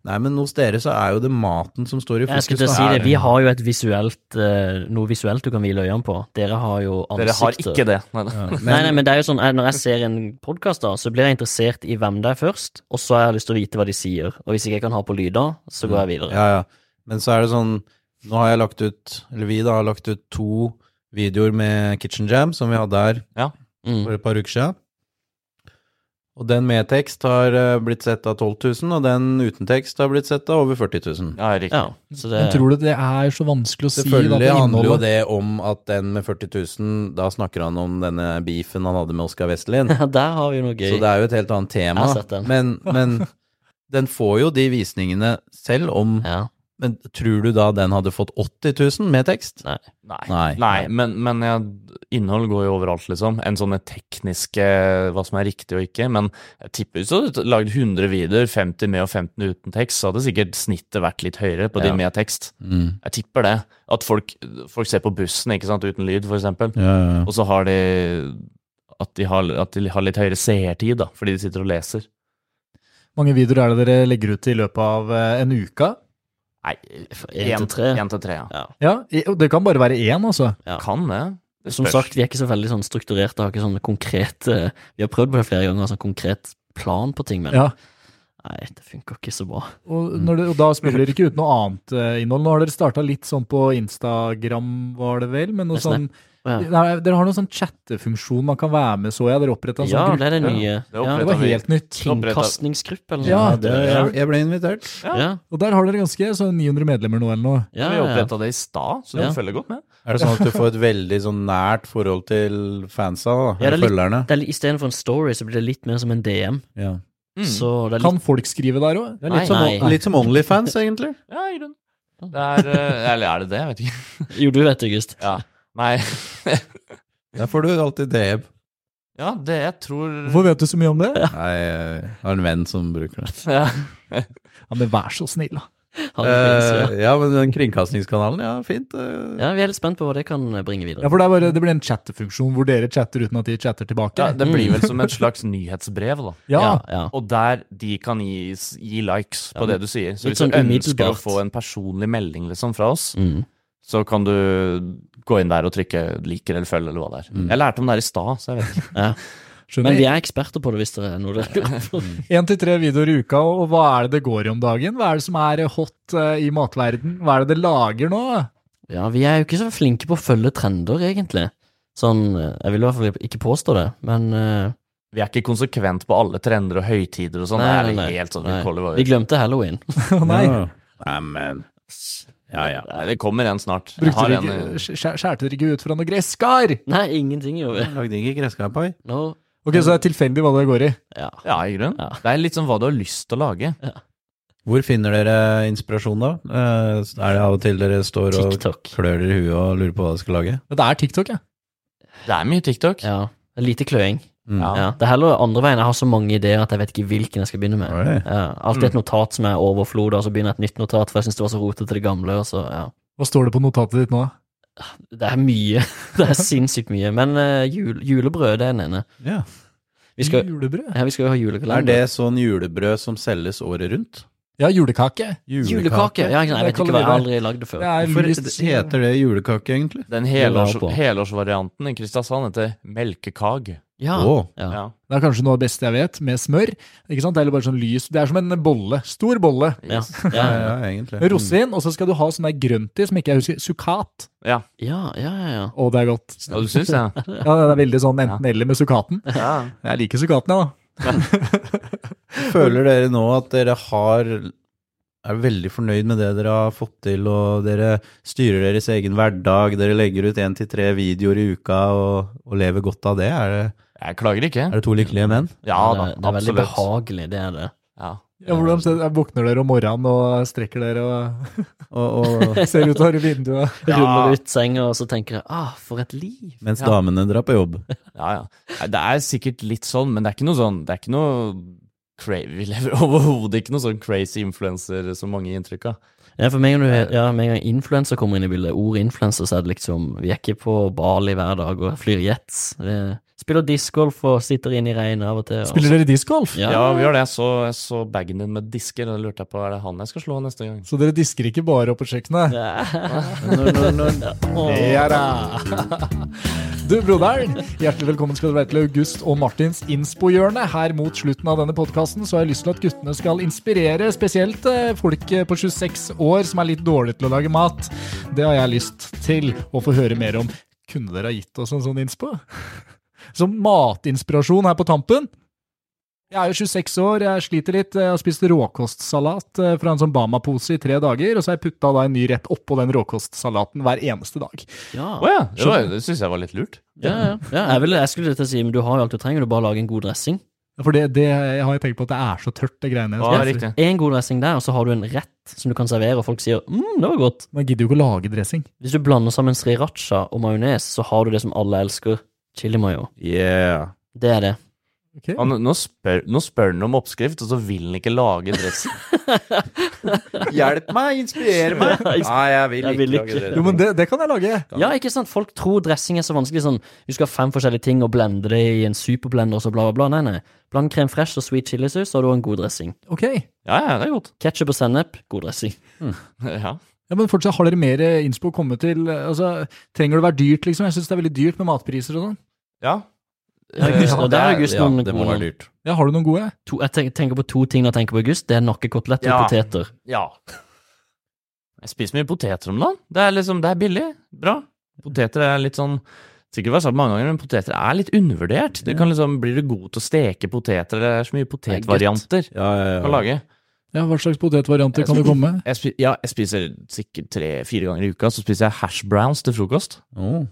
Nei, men hos dere så er jo det maten som står i
Jeg
fokus.
skulle til å
da.
si det, Vi har jo et visuelt, eh, noe visuelt du kan hvile øynene på. Dere har jo ansikter.
Dere har ikke det. Nei, da.
Nei, nei, men det er jo sånn, eh, Når jeg ser en podkast, så blir jeg interessert i hvem det er først, og så har jeg lyst til å vite hva de sier. Og hvis ikke jeg kan ha på lyder, så går jeg videre.
Ja, ja. Men så er det sånn Nå har jeg lagt ut, eller vi da har lagt ut to videoer med Kitchen Jam, som vi hadde her
Mm.
for et par uker siden. Og den med tekst har eh, blitt sett av 12 000, og den uten tekst har blitt sett av over 40 000.
Ja, riktig.
Ja, så det,
Men tror du det er så vanskelig å si da,
Selvfølgelig
på
handler jo
innholdet?
det om at den med 40 000, da snakker han om denne beefen han hadde med Oskar Vestelin.
ja, der har vi jo noe
Så
gøy.
det er jo et helt annet tema.
Jeg har sett den.
Men, men den får jo de visningene selv om
Ja.
Men tror du da den hadde fått 80 000 med tekst?
Nei.
Nei.
Nei.
Nei, men, men jeg, innhold går jo overalt, liksom. Enn sånne tekniske hva som er riktig og ikke. Men jeg tipper hvis du hadde lagd 100 videoer, 50 med og 15 uten tekst, så hadde sikkert snittet vært litt høyere på de
Ja.
med tekst.
Mm.
Jeg tipper det. At folk, folk ser på bussen ikke sant, uten lyd, for eksempel.
Ja, ja, ja.
Og så har de at de har, at de har litt høyere seertid, da, fordi de sitter og leser.
mange videoer er det dere legger ut i løpet av eh, en uke?
Nei,
En til tre.
en til tre, ja.
Ja, i- og Det kan bare være én, altså.
Ja.
Kan det. det
Som
spørs.
sagt, vi er ikke så veldig sånn strukturerte, har ikke sånn konkret eh, Vi har prøvd på det flere ganger, sånn konkret plan på ting, men
Ja.
nei, det funker ikke så bra.
Og,
Mm.
når det, og da spiller dere ikke ut noe annet eh, innhold. Nå har dere starta litt sånn på Instagram, var det vel? Men noe
Snap.
sånn
Ja.
Nei, Dere har noen sånn chattefunksjon man kan være med, så jeg. Dere oppretta en
Ja,
sånn
det
gruppe.
er det nye.
Det
Ja,
Det
opprettet
var
vi.
helt nytt.
Kringkastingsgruppe, eller
Ja,
noe.
det-
Jeg, jeg ble invitert.
Ja,
Og der har dere ganske sånn 900 medlemmer nå, eller noe.
ja,
Vi
ja.
oppretta det i stad, så du
Ja.
følger godt med.
Er det sånn at du får et veldig sånn nært forhold til fansa, da?
Ja, det er
Eller
litt-
følgerne?
Det er litt- Istedenfor en story, så blir det litt mer som en DM.
Ja.
Mm.
Så det er litt
Kan folk skrive der òg?
Det er litt,
Nei,
som,
nei.
litt som Onlyfans, egentlig.
Ja, i grunnen.
Sånn.
Det er eh, Eller er det det? Jeg vet ikke.
Jo, du vet det, August.
Ja. Nei.
Der får du alltid DM.
Ja, det jeg tror
Hvorfor vet du så mye om det?
Nei, jeg har en venn som bruker det.
ja.
Ja, men vær så snill, da.
Han finnes, ja.
Eh, ja, men den kringkastingskanalen, ja, fint. eh.
ja, vi er litt spent på hva det kan eh, bringe videre.
Ja, for det, er bare, det blir en chattefunksjon hvor dere chatter uten at de chatter tilbake.
ja, det
Mm.
blir vel som et slags nyhetsbrev, da.
Ja,
ja, ja.
Og der de kan gi, gi likes på det du sier. Så
litt
hvis du
sånn
ønsker å
umiddelbart.
få en personlig melding liksom fra oss,
Mm.
så kan du gå inn der og trykke 'liker' eller 'følg' eller hva det er.
Mm.
Jeg lærte om det her i stad, så jeg vet ikke.
Men
skjønner.
vi er eksperter på det, hvis det er noe dere lurer på.
Én til tre videoer i uka, og hva er det det går i om dagen? Hva er det som er hot eh, i matverden? Hva er det det lager nå?
Ja, vi er jo ikke så flinke på å følge trender, egentlig. Sånn, eh, Jeg vil i hvert fall ikke påstå det, men eh,
Vi er ikke konsekvent på alle trender og høytider og sånn. Det
Nei,
er
nei, nei.
helt sånn
Nei.
vi holder
vi
våre.
glemte halloween.
Å nei,
Ja. Nei, men Ja, ja.
Nei, det kommer en snart. Jeg
brukte
har
dere
en, eh,
ikke, skjær- skjærte dere ikke ut fra noe gresskar?
Nei, ingenting gjorde vi.
Lagde ikke gresskarpai.
No.
Ok, så det er tilfeldig hva det går i.
Ja.
Ja, i grunnen.
Ja.
Det er litt sånn hva du har lyst til å lage.
Hvor finner dere inspirasjon, da? Eh, Er det av og til dere står og
TikTok.
klør dere i huet og lurer på hva dere skal lage?
Det er TikTok, ja.
Det er mye TikTok.
Ja. det er Lite kløing.
Mm.
Ja.
Ja. Det er heller andre veien. Jeg har så mange ideer at jeg vet ikke hvilken jeg skal begynne med.
Oi.
Ja. Alltid
Mm.
et notat som er overflod, og så begynner jeg et nytt notat, for jeg syns det var så rotete det gamle. og så, ja.
Hva står det på notatet ditt nå?
Det er mye. Det er sinnssykt mye. Men eh, jul, julebrød, det er den ene.
Ja.
Vi skal,
Julebrød?
ja, vi skal jo ha
Er
julekalender.
det sånn julebrød som selges året rundt?
Ja, julekake.
Julekake? Ja, jeg, jeg
Det
vet ikke, hva,
kaller vi
jeg har aldri lagd det før.
Det er
Hvorfor
lyst-
heter det julekake, egentlig?
Den helårs,
Det var på.
helårsvarianten i Kristiansand heter melkekag.
Ja.
Åh.
Ja.
Ja.
Det er kanskje noe av det beste jeg vet, med smør. Ikke sant? Det er bare sånn lys. Det er som en bolle. Stor bolle.
Ja.
Yes.
Ja.
Ja, ja, mm. egentlig.
Med rosin, og så skal du ha sånn der grønt i, som ikke jeg husker. Sukat.
ja, ja, ja, ja.
Å, det er godt.
Ja, du syns det?
Ja, det er veldig sånn enten-eller med sukaten.
Ja.
Jeg liker sukaten, jeg, da.
Føler dere nå at dere har er veldig fornøyd med det dere har fått til, og dere styrer deres egen hverdag, dere legger ut én til tre videoer i uka og, og lever godt av det? Er det,
Jeg klager ikke.
er det to lykkelige menn?
Ja
det,
da,
er- det er veldig
absolutt.
behagelig, det er det.
Ja.
Ja, hvordan ser- Våkner dere om morgenen og strekker dere og
Og, og,
ser ut av vinduet?
Ja.
Ruller ut senga, og så tenker jeg ah, for et liv.
mens
Ja.
damene drar på jobb.
Ja, ja. Nei, Det er sikkert litt sånn, men det er ikke noe sånn Det er ikke noe cra Vi lever overhodet ikke noe sånn crazy influenser som mange gir inntrykk av.
Ja, for med en gang, du, ja, med en gang influenser kommer inn i bildet, ordet influenser, så er det liksom Vi er ikke på Bali hver dag og flyr jets. Vi spiller discgolf og sitter inne i regnet av og til. Og,
Spiller dere discgolf?
ja.
Ja, vi gjør det. Jeg så, jeg så bagen din med disker, og da lurte jeg på er det han jeg skal slå neste gang.
Så dere disker ikke bare opp på kjøkkenet?
Når, når, når,
Ja da. Du, broderen, hjertelig velkommen skal du være til August og Martins Inspo-hjørne. Her mot slutten av denne podkasten har jeg lyst til at guttene skal inspirere spesielt eh, folk eh, på 26 år som er litt dårlige til å lage mat. Det har jeg lyst til å få høre mer om. Kunne dere ha gitt oss en sånn inspo? Som matinspirasjon her på tampen? Jeg er jo 26 år, jeg sliter litt. eh, Jeg har spist råkostsalat eh, fra en sånn Bama-pose i tre dager, og så har jeg putta da en ny rett oppå den råkostsalaten hver eneste dag.
Ja.
Å ja, det, var- det syns jeg var litt lurt.
Ja, ja. ja jeg, ville, jeg skulle til å si, men du har jo alt du trenger, du bare lager en god dressing.
For det, det jeg har jo tenkt på at det er så tørt, det greiene.
Ja,
jeg
riktig.
En god dressing der, og så har du en rett som du kan servere, og folk sier mm, det var godt.
Man gidder jo ikke å lage dressing.
Hvis du blander sammen sriracha og majones, så har du det som alle elsker. Chili mayo.
yeah.
Det er det.
Ok?
Han, nå, spør, nå spør han om oppskrift, og så vil han ikke lage dressen.
Hjelp meg, inspirer meg! Nei, jeg vil
Jeg
ikke.
vil
lage
ikke.
det.
Jo, men det, det kan jeg lage.
Ja, ikke sant? Folk tror dressing er så vanskelig. Sånn, du skal ha fem forskjellige ting og blende det i en superblender og så bla, bla, bla. Nei, nei. Bland krem fresh og sweet chilisaus, så har du en god dressing.
Ok. Ja,
Ja, ja, det er godt.
Ketchup og sennep, god dressing.
Ja.
men fortsatt, Har dere mer eh, innspo å komme til? Altså, trenger det å være dyrt, liksom? Jeg syns det er veldig dyrt med matpriser og sånn.
ja.
August, og der er August
ja,
noen
det må
gode.
være dyrt.
Ja, Har du noen gode?
To, jeg tenker, tenker på to ting når jeg tenker på august. Det er nakkekoteletter
Ja.
og poteter.
Ja. Jeg spiser mye poteter om dagen. Det er liksom, det er billig. Bra. Poteter er litt sånn Sikkert vært sagt mange ganger, men poteter er litt undervurdert. Du kan liksom, Blir du god til å steke poteter? Det er så mye potetvarianter du
Ja, ja,
kan lage.
Ja, Hva slags potetvarianter kan det komme?
Jeg, spi ja, jeg spiser sikkert tre-fire ganger i uka, så spiser jeg hash browns til frokost.
Oh,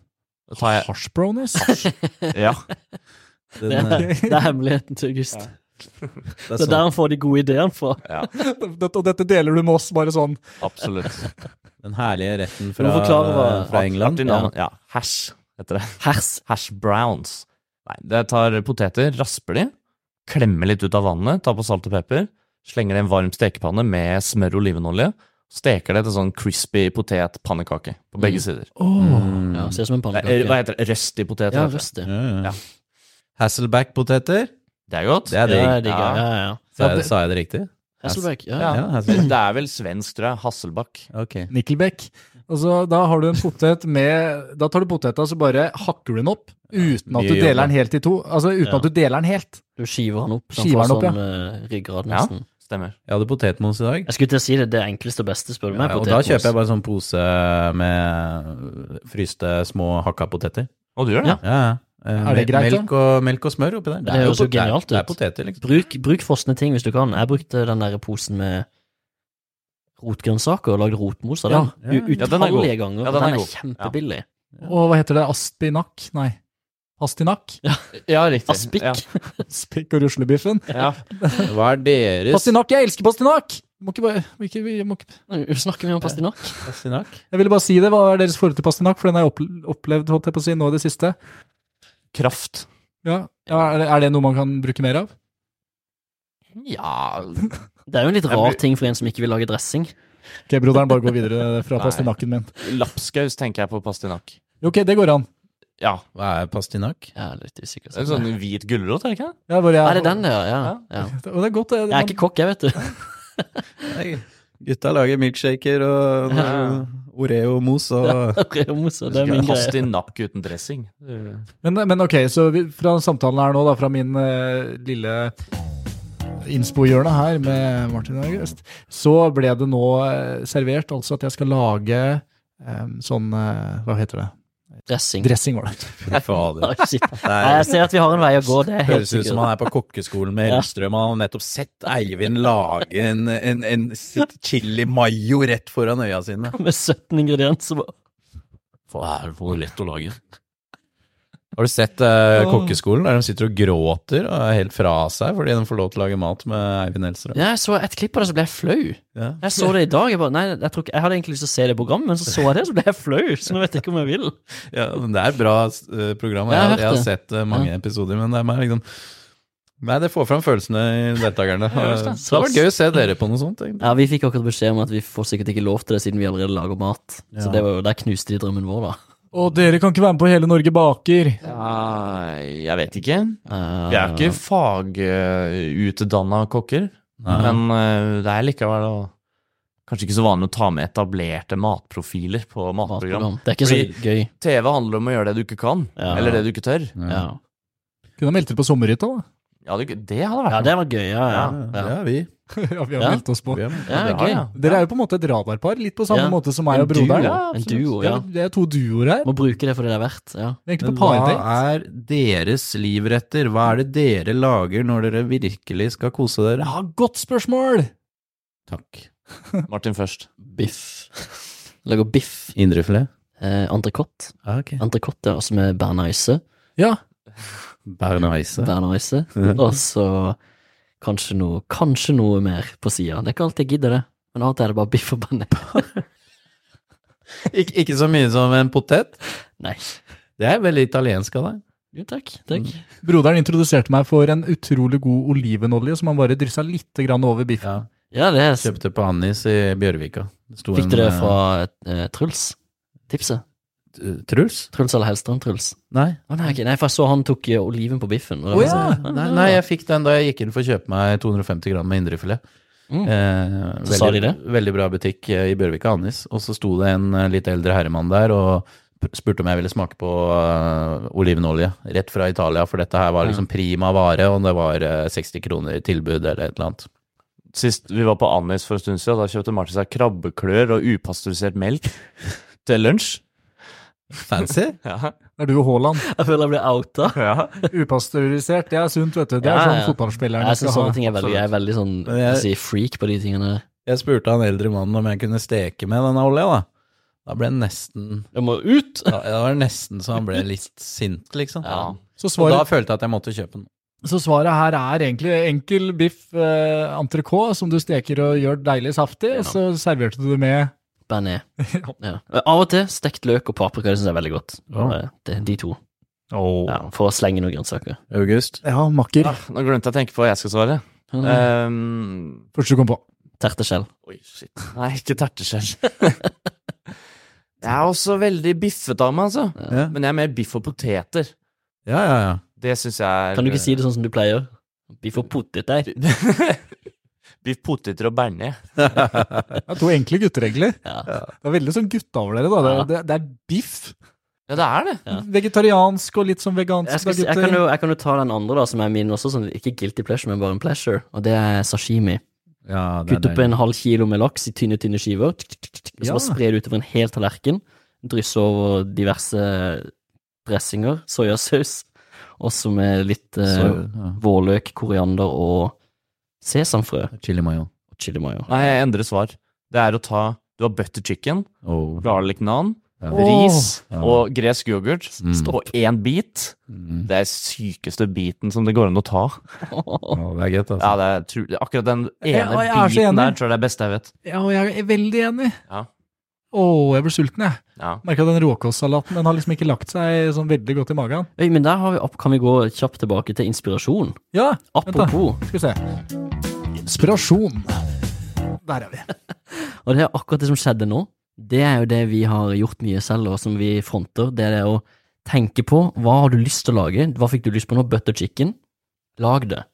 Da tar jeg,
Hash brownies?
ja,
det,
eh,
er, det er hemmeligheten til August. Det
sånn,
er der han får de gode ideene fra.
ja,
Dette, og dette deler du med oss, bare sånn.
absolutt.
Den herlige retten
Du
fra,
må forklare hva-
fra England.
Artig
Ja.
navn. Ja, hash heter det.
Hers.
Hash browns. Nei, jeg tar poteter, rasper de, klemmer litt ut av vannet, tar på salt og pepper, slenger det i en varm stekepanne med smør og olivenolje, steker det til sånn crispy potet-pannekake på begge sider.
Mm.
Ja, ser ut som en
Nei, eh,
pannekake.
Hva heter det? Røstig potet?
Ja,
heter det.
røst det.
Ja,
Ja.
ja. Hasselback-poteter.
Det er godt.
Det
Ja,
er digg.
digg, ja, ja, ja.
Sa, jeg- sa jeg det riktig?
Hasselbeck. Ja,
Ja.
ja.
Ja, Hasselback.
Det er vel svensk, tror jeg. Hasselbakk.
Ok.
Nickelback. Altså, da har du en potet med Da tar du poteta, så bare hakker du den opp. Uten at du
Mye jobb,
deler
da.
den helt i to. Altså uten
Ja.
at du deler den helt.
Du skiver han opp. så
Skiver
han
han
får
opp, ja.
sånn eh, ryggrad,
Ja.
nesten.
Stemmer.
Jeg hadde potetmos i dag.
Jeg skulle til å si det, det enkleste og beste, spør du meg.
Ja, og da kjøper jeg bare sånn pose med fryste små hakka poteter.
Å, du gjør det?
Ja.
Ja, ja. Eh,
Er det
mel-
greit, da?
melk og, melk og smør oppi der.
Det høres jo
pot- det er-
genialt
Det er
ut.
poteter, liksom.
Bruk, bruk frosne ting hvis du kan. Jeg brukte den der posen med rotgrønnsaker og lagde rotmos av den.
Ja, ja, ja.
U-
Ja, den er god.
Utallige ganger.
Ja,
og
den er
den er,
god.
kjempebillig.
Og hva heter det? Aspinak? Nei. Pastinakk?
Ja, riktig.
Aspik.
Ja.
Spikk og ruslebiffen?
Ja.
Hva er deres
Pastinakk! Jeg elsker pastinakk! Må ikke bare, må ikke, vi må ikke.
Snakker vi om pastinakk?
Pastinakk?
Jeg ville bare si det. Hva er deres forhold til pastinakk? For den har jeg opple- opplevd holdt jeg på å si, nå i det siste.
Kraft.
Ja. Ja, er, det, er det noe man kan bruke mer av?
Ja
Det er jo en litt
Jeg
rar
blir-
ting for en som ikke vil lage dressing.
Ok, broderen, bare gå videre fra
Nei.
pastinakken min.
Lapskaus tenker jeg på pastinakk.
Jo, Ok, det går an.
Ja.
Hva er pastinakk?
Jeg er litt usikker.
En sånn hvit gulrot, er det ikke? det?
Ja, hvor jeg,
Er det den der, ja? ja.
Og det er godt, det.
Jeg er ikke kokk, jeg, vet du.
Nei, Gutta lager milkshaker og
Ja.
Oreo-mos og
Remus, og det er min greie.
Pastinakk uten dressing.
Men, men ok, så vi, fra samtalen her nå, da, fra min eh, lille innspohjørne her med Martin og August, så ble det nå eh, servert altså at jeg skal lage eh, sånn eh, Hva heter det?
Dressing.
Dressing, var det.
Fy fader.
Nei, shit.
Det
Nei,
er,
Jeg ser at vi har en vei å gå, det er helt
høres ut som
sikkert.
han er på kokkeskolen med
Ja.
Hellstrøm. Han har nettopp sett Eivind lage en, en, en sitt chili mayo rett foran øya sine.
Med 17 ingredienser.
er det for lett å lage?
Har du sett eh, kokkeskolen der de sitter og gråter og er helt fra seg fordi de får lov til å lage mat med Eivind Hellstrøm?
Ja, jeg så et klipp av det, så ble jeg flau.
Ja.
Jeg så det i dag. Jeg, bare, nei, jeg, tror ikke, jeg hadde egentlig lyst til å se det programmet, men så så jeg det, så ble jeg flau. Så nå vet jeg ikke om jeg vil.
Ja, men det er et bra eh, program.
Jeg har
Jeg, har-
hørt
jeg har
det.
sett eh, mange episoder, men det er mer liksom Nei, det får fram følelsene i deltakerne. Det
det.
hadde vært gøy å se dere på noe sånt. egentlig.
Ja, Vi fikk akkurat beskjed om at vi får sikkert ikke lov til det, siden vi allerede lager mat. Så det var jo, der knuste de drømmen vår, da.
Og dere kan ikke være med på Hele Norge baker!
jeg vet ikke.
Eh,
Vi er ikke fagutdanna kokker, men eh, det er likevel å Kanskje ikke så vanlig å ta med etablerte matprofiler på matprogram.
matprogram. Det er ikke så gøy.
TV handler om å gjøre det du ikke kan,
Ja.
eller det du ikke tør.
Ja,
Kunne ha meldt dere på sommerhytta, da.
Ja, det, det hadde vært
ja det var gøy. Ja, ja.
Det
ja.
er vi.
ja, vi har
Ja.
meldt oss på.
vi er med.
ja.
det har
gøy.
jeg.
Dere er jo på en måte et radarpar, litt på samme
Ja.
måte som meg og
En duo,
broderen.
ja, En duo,
absolutt.
ja.
Det er- Det er to duoer her.
Må bruke det for det det er verdt. Ja.
Vi er Egentlig
Men
på
hva
pardate.
er deres livretter? Hva er det dere lager når dere virkelig skal kose dere?
Ja, godt spørsmål!
Takk.
Martin først.
Biff. Lager biff.
Indrefilet?
Eh, Entrecôte.
Ah, ok.
Entrecôte ja, også med bearnaise.
Ja,
Berneise.
Bearnaise. Og så kanskje noe, kanskje noe mer på sida. Det er ikke alltid jeg gidder det. Men av og til er det bare biff og bearnaise.
Ik ikke så mye som en potet.
Nei.
Det er veldig italiensk av deg.
Jo, takk. takk.
Broderen introduserte meg for en utrolig god olivenolje som han bare dryssa litt grann over biffen.
Ja, det er
Kjøpte på Annis i Bjørvika. Det sto
Fikk
en,
dere det
eh,
fra eh, Truls? Tipset?
t- Truls?
Truls eller Hellstrøm Truls?
Nei.
Å nei, ok, nei, for jeg så han tok eh, oliven på biffen. og det
Å,
var
ja.
sånn,
Nei, nei, jeg fikk den da jeg gikk inn for å kjøpe meg 250 gram med indrefilet.
Mm.
Eh,
Så sa de det?
Veldig bra butikk eh, i Bjørvika, Annis. Og så sto det en eh, litt eldre herremann der og p- spurte om jeg ville smake på eh, olivenolje rett fra Italia, for dette her var liksom prima vare, og det var eh, 60 kroner i tilbud eller et eller annet.
Sist vi var på Annis for en stund siden, da kjøpte Martin seg krabbeklør og upasteurisert melk til lunsj.
Fancy?
Ja,
Det er du og Haaland.
Jeg føler jeg blir outa.
ja.
Upasteurisert, det er sunt, vet du. Det er
Ja,
sånn
ja.
fotballspillerne
Jeg synes sånne ting er veldig, jeg er veldig sånn
Men jeg-
jeg sier freak på de tingene. der.
Jeg spurte han eldre mannen om jeg kunne steke med denne olja, da. Da ble han nesten
Jeg må ut!
da, Det var nesten så han ble litt sint, liksom.
Ja.
Så
Og da
svaret,
følte jeg at jeg måtte kjøpe den.
så svaret her er egentlig enkel biff eh, entrecôte som du steker og gjør deilig saftig, og så serverte du det med
Bearnés. Ja. Av og til stekt løk og paprika, det syns jeg er veldig godt. eh,
Ja.
Det, de to.
Åh.
Ja, for å slenge noen grønnsaker.
August.
Ja, makker.
Ah, nå glemte jeg å tenke på hva jeg skal svare. Um,
Første du kom på.
Terteskjell.
Oi, shit. Nei, ikke terteskjell. jeg er også veldig biffet av meg, altså.
Ja.
Men jeg er mer biff og poteter.
ja, ja, ja.
Det syns jeg er
Kan du ikke si det sånn som du pleier? Vi får poteter.
eh, Biff, poteter og bearnés.
Det er to enkle gutteregler.
Ja.
Det er veldig sånn gutta over dere, da. Det, det, det er biff.
Ja, det er det.
Ja.
Vegetariansk og litt sånn vegansk.
Jeg, skal,
da,
si- jeg,
gutter.
kan jo, jeg kan jo ta den andre, da, som er min også, sånn, ikke guilty pleasure, men bare en pleasure, og det er sashimi.
ja det er
Kutt opp
deilig.
en halv kilo med laks i tynne, tynne skiver, tsk, tsk, tsk, tsk, og
Ja.
så bare spre det utover en hel tallerken, drysse over diverse dressinger, soyasaus, også med litt eh,
Så, ja.
vårløk, koriander og sesamfrø og
Chili mayo.
chili mayo.
Nei, jeg endrer svar. Det er å ta Du har butter chicken,
Oh.
garlic naan,
Ja.
ris
Ja.
og gresk yoghurt
Mm.
på én bit.
Mm.
Det er sykeste biten som det går an å ta.
Ja, det er godt, altså.
Ja, det er tru- Akkurat den
Jeg-
ene
jeg er så
biten
enig.
der tror jeg det er beste jeg vet.
Ja, og jeg er veldig enig.
Ja.
Å, jeg blir sulten, jeg.
Ja.
Merka den råkostsalaten. Den har liksom ikke lagt seg sånn veldig godt i magen.
Oi, men der har vi, opp- kan vi gå kjapt tilbake til inspirasjon.
Ja, da.
Apropos.
skal vi se. Inspirasjon. Der er vi.
Og det er akkurat det som skjedde nå. Det er jo det vi har gjort mye selv, og som vi fronter. Det er det å tenke på hva har du lyst til å lage. Hva fikk du lyst på nå? Butter chicken? Lag det.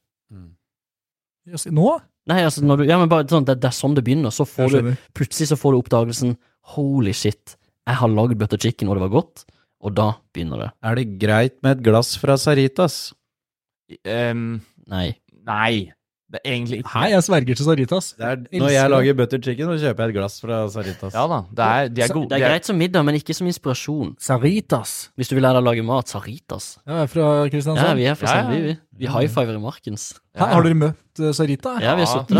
Jøss, Nå?
Nei, altså, når du, ja, men bare sånn, det, det er sånn det begynner. Så får du,
skjønner.
plutselig så får du oppdagelsen Holy shit, jeg har lagd butter chicken, og det var godt. Og da begynner det.
Er det greit med et glass fra Saritas?
Ehm,
Nei.
nei. Det er egentlig ikke
Nei, jeg sverger til Saritas.
Det er,
Elsker
når jeg
det.
lager butter chicken, så kjøper jeg et glass fra Saritas.
Ja da. Det er, de er
Så-
gode.
Det
de
er
er-
greit som middag, men ikke som inspirasjon.
Saritas.
Hvis du vil lære deg å lage mat, saritas.
Ja, jeg er fra
Ja,
Kristiansand.
vi er for
Sånn Ja, ja.
vi. Vi, vi high-fiver i markens.
Hæ, har dere møtt eh, Sarita?
Ja, vi har
Ja.
sittet der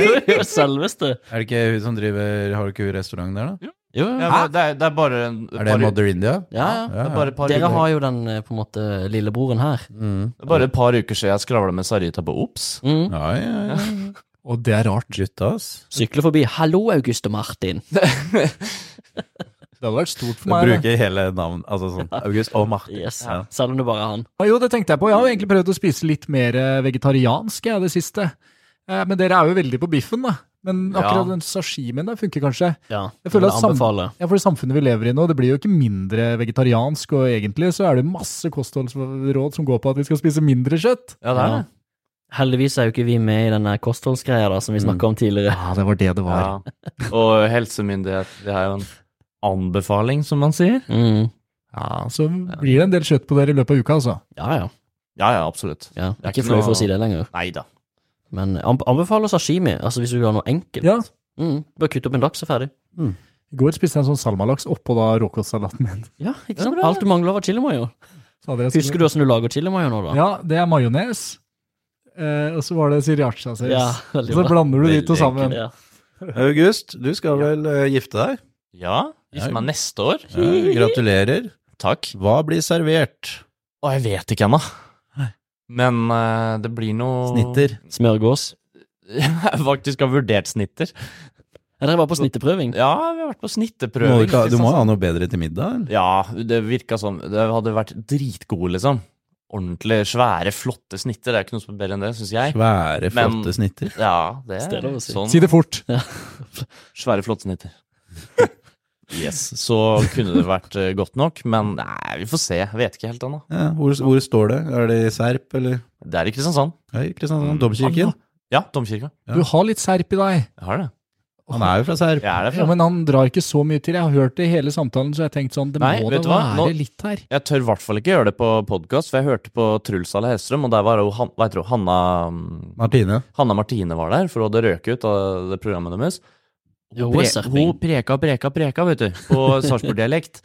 og Jo, jo, Selveste.
Er det ikke hun som driver Har du ikke hun restaurant der, da?
Jo, jo.
Ja, men det, er, det er bare en,
Er det
par-
Mother India?
ja, ja.
det er bare et par,
Dere
uker-
har jo den eh, på en måte lillebroren her.
Mm.
det er bare et par uker siden jeg skravla med Sarita på Ops.
Mm.
Ja, ja, ja.
Og det er rart.
Gutta, ass.
Sykler forbi 'Hallo, August og Martin'.
Det hadde vært stort for
Du
meg. det.
bruker hele navn, altså sånn August og Martin.
Yes.
Ja.
Selv om det bare er han.
Ja, Jo, det tenkte jeg på. Jeg har jo egentlig prøvd å spise litt mer eh, vegetariansk jeg, det siste. Eh, Men dere er jo veldig på biffen, da. Men akkurat
Ja.
den sashimien der funker kanskje.
Ja,
Jeg føler
men
at sam-
anbefaler.
Ja, for det samfunnet vi lever i nå, det blir jo ikke mindre vegetariansk, og egentlig så er det masse kostholdsråd som går på at vi skal spise mindre kjøtt.
Ja, det er det.
Heldigvis er jo ikke vi med i denne kostholdsgreia da, som vi snakka om tidligere.
Ja, det var det det
Ja. Og helsemyndighet, det er jo en anbefaling, som man sier.
Mm.
Ja, så blir det en del kjøtt på dere i løpet av uka, altså.
Ja, ja.
Ja, ja, absolutt.
ja. Jeg er
ikke
ikke flau
noe-
for å si det lenger.
Nei da.
Men eh, anb- anbefaler sashimi, altså hvis du vil ha noe enkelt.
Ja.
Mm. Bare kutte opp en laks og ferdig.
I går spiste jeg en sånn salmalaks oppå da råkostsalaten min.
Ja, ikke sant? Alt du mangler var chili mayo.
Så hadde jeg-
Husker du åssen du lager chili mayo nå, da?
Ja, det er majones. Eh, og så var det sriracha-saus.
Ja,
Og
veldig
så
bra.
blander du de to
Veldig
sammen.
Ja.
August, du skal vel eh, gifte deg?
Ja, hvis
Ja.
man neste år
Ja, gratulerer.
Takk.
Hva blir servert?
Å, jeg vet ikke ennå. Men eh, det blir noe
Snitter.
Smørgås.
Jeg faktisk har vurdert snitter.
Jeg drev bare på snitteprøving.
Ja, vi har vært på
Du må,
snitteprøving.
ikke, ha- du må
Kristiansand.
ha noe bedre til middag? eller?
Ja, det virka sånn. Det hadde vært dritgode, liksom. Ordentlig svære, flotte snitter. Det er ikke noe som er bedre enn det, syns jeg.
Svære,
Men-
flotte snitter.
Ja, det
Det er lov å si.
sånn.
Si det fort.
Svære, flotte snitter. Yes, så kunne det vært eh, godt nok, men nei, vi får se. Jeg vet ikke helt ennå.
Ja, hvor, hvor står det? Er det i Serp, eller?
Det er i Kristiansand.
Ja, i
Mm,
Mm.
Kristiansand. Domkirken?
Ja, domkirka.
Ja.
Du har litt serp i deg.
Jeg har det.
Han er jo fra Serp.
Jeg
Ja,
er derfra.
men han drar ikke så mye til. Jeg har hørt det i hele samtalen, så jeg tenkte sånn, det
Nei,
må da
vet du hva?
være
Nå-
litt her.
Jeg tør i hvert fall ikke gjøre det på podkast, for jeg hørte på Truls Ale Hellstrøm, og der var jo han, hva heter hun, Hanna mm,
Martine.
Hanna Martine var der, for hun hadde røket ut av det programmet deres.
Jo,
Pre
serping.
hun preka, preka, preka, vet du, på Sarpsborg-dialekt.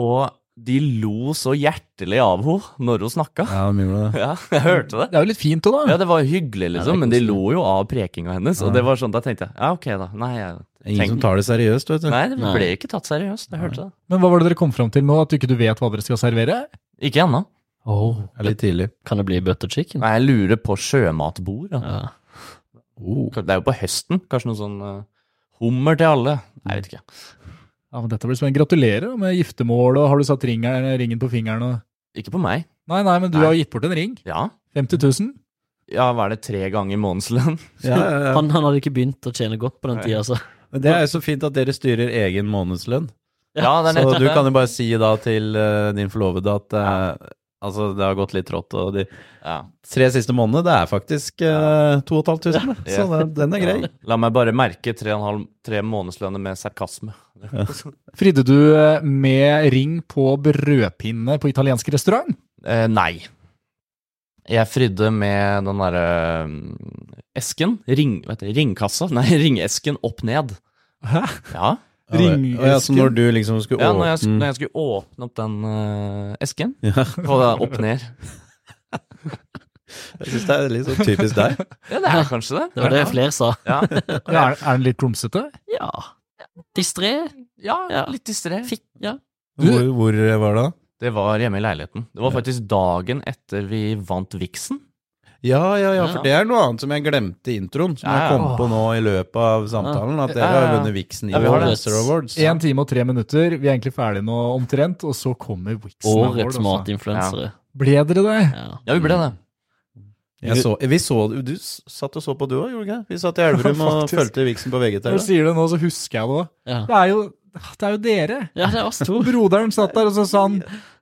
Og de lo så hjertelig av henne når hun snakka.
Ja, de gjorde det.
Ja, jeg hørte det.
Det er jo litt fint òg, da.
Ja, det var hyggelig,
Ja, det er
liksom, men de
koselig.
lo jo av prekinga hennes. Og det var sånn, da tenkte jeg ja, ok, da. Nei, jeg,
Ingen
tenk-
som tar det seriøst, vet du.
nei det
Nei.
ble ikke tatt seriøst. Jeg hørte det.
Men hva var det dere kom fram til nå? At du ikke du vet hva dere skal servere?
Ikke ennå.
Det er litt tidlig.
Kan det bli butter chicken?
Nei, jeg lurer på sjømatbord. Ja.
Mm. Ja.
Oh.
Det er jo på høsten. Kanskje noe sånn eh, hummer til alle.
Mm.
Jeg vet ikke.
Ja, men dette blir spennende. Gratulerer med giftermål, og har du satt ringeren, ringen på fingeren og
Ikke på meg.
Nei, nei, men du
Nei.
har gitt bort en ring.
Ja,
50 000.
ja hva er det tre ganger månedslønn?
Ja, ja, ja.
Han, han hadde ikke begynt å tjene godt på den
Nei.
tida, altså.
Men det er jo så fint at dere styrer egen månedslønn.
Ja, det er
Så
nettopp
du
det.
kan jo bare si da til eh, din forlovede at eh, altså, det har gått litt trått, og de
Ja.
tre siste månedene, det er faktisk eh, 2500,
Ja.
så den, den er grei.
Ja. La meg bare merke tre, og en halv, tre månedslønner med sarkasme.
Fridde du eh, med ring på brødpinne på italiensk restaurant?
Eh, nei. Jeg frydde med den derre mm, esken. Ring, vet du, ringkassa. Nei, ringesken opp ned.
Hæ?
Ja.
Ja, det-
Ringesken.
Ja, så når du liksom skulle
ja når, jeg, sk-
åpne
når jeg skulle åpne opp den eh, esken,
Mm. ja,
og da opp ned.
Jeg syns det er litt sånn typisk deg.
Ja, det er kanskje det.
Det var det flere sa.
Ja,
Ja, er, er den litt klumsete?
Ja. Distré.
ja,
Ja.
litt distré.
Fikk Ja.
Du-
Hvor, hvor eh, var det da?
Det var hjemme i leiligheten. Det var faktisk dagen etter vi vant viksen.
Ja, ja, ja, for
Ja.
det er noe annet som jeg glemte i introen, som
Ja, ja.
jeg kom på nå i løpet av samtalen, at dere
Ja, ja,
har
ja.
vunnet Vixen i
Ja, vi har det.
Lesser Awards.
Én time og tre minutter. Vi er egentlig ferdige nå omtrent, og så kommer Wixen.
Årets
Award, altså.
matinfluensere.
Ble dere det?
Ja.
Ja, vi ble det.
Jeg så, vi så, du s- satt og så på du òg, gjorde du ikke? det? Vi satt i Elverum og
Faktisk.
fulgte Vixen på
Når du
VGTV.
sier det nå, så husker jeg det òg.
Ja.
Det er jo det er jo dere.
ja, det er oss to.
Broderen satt der, og så sa han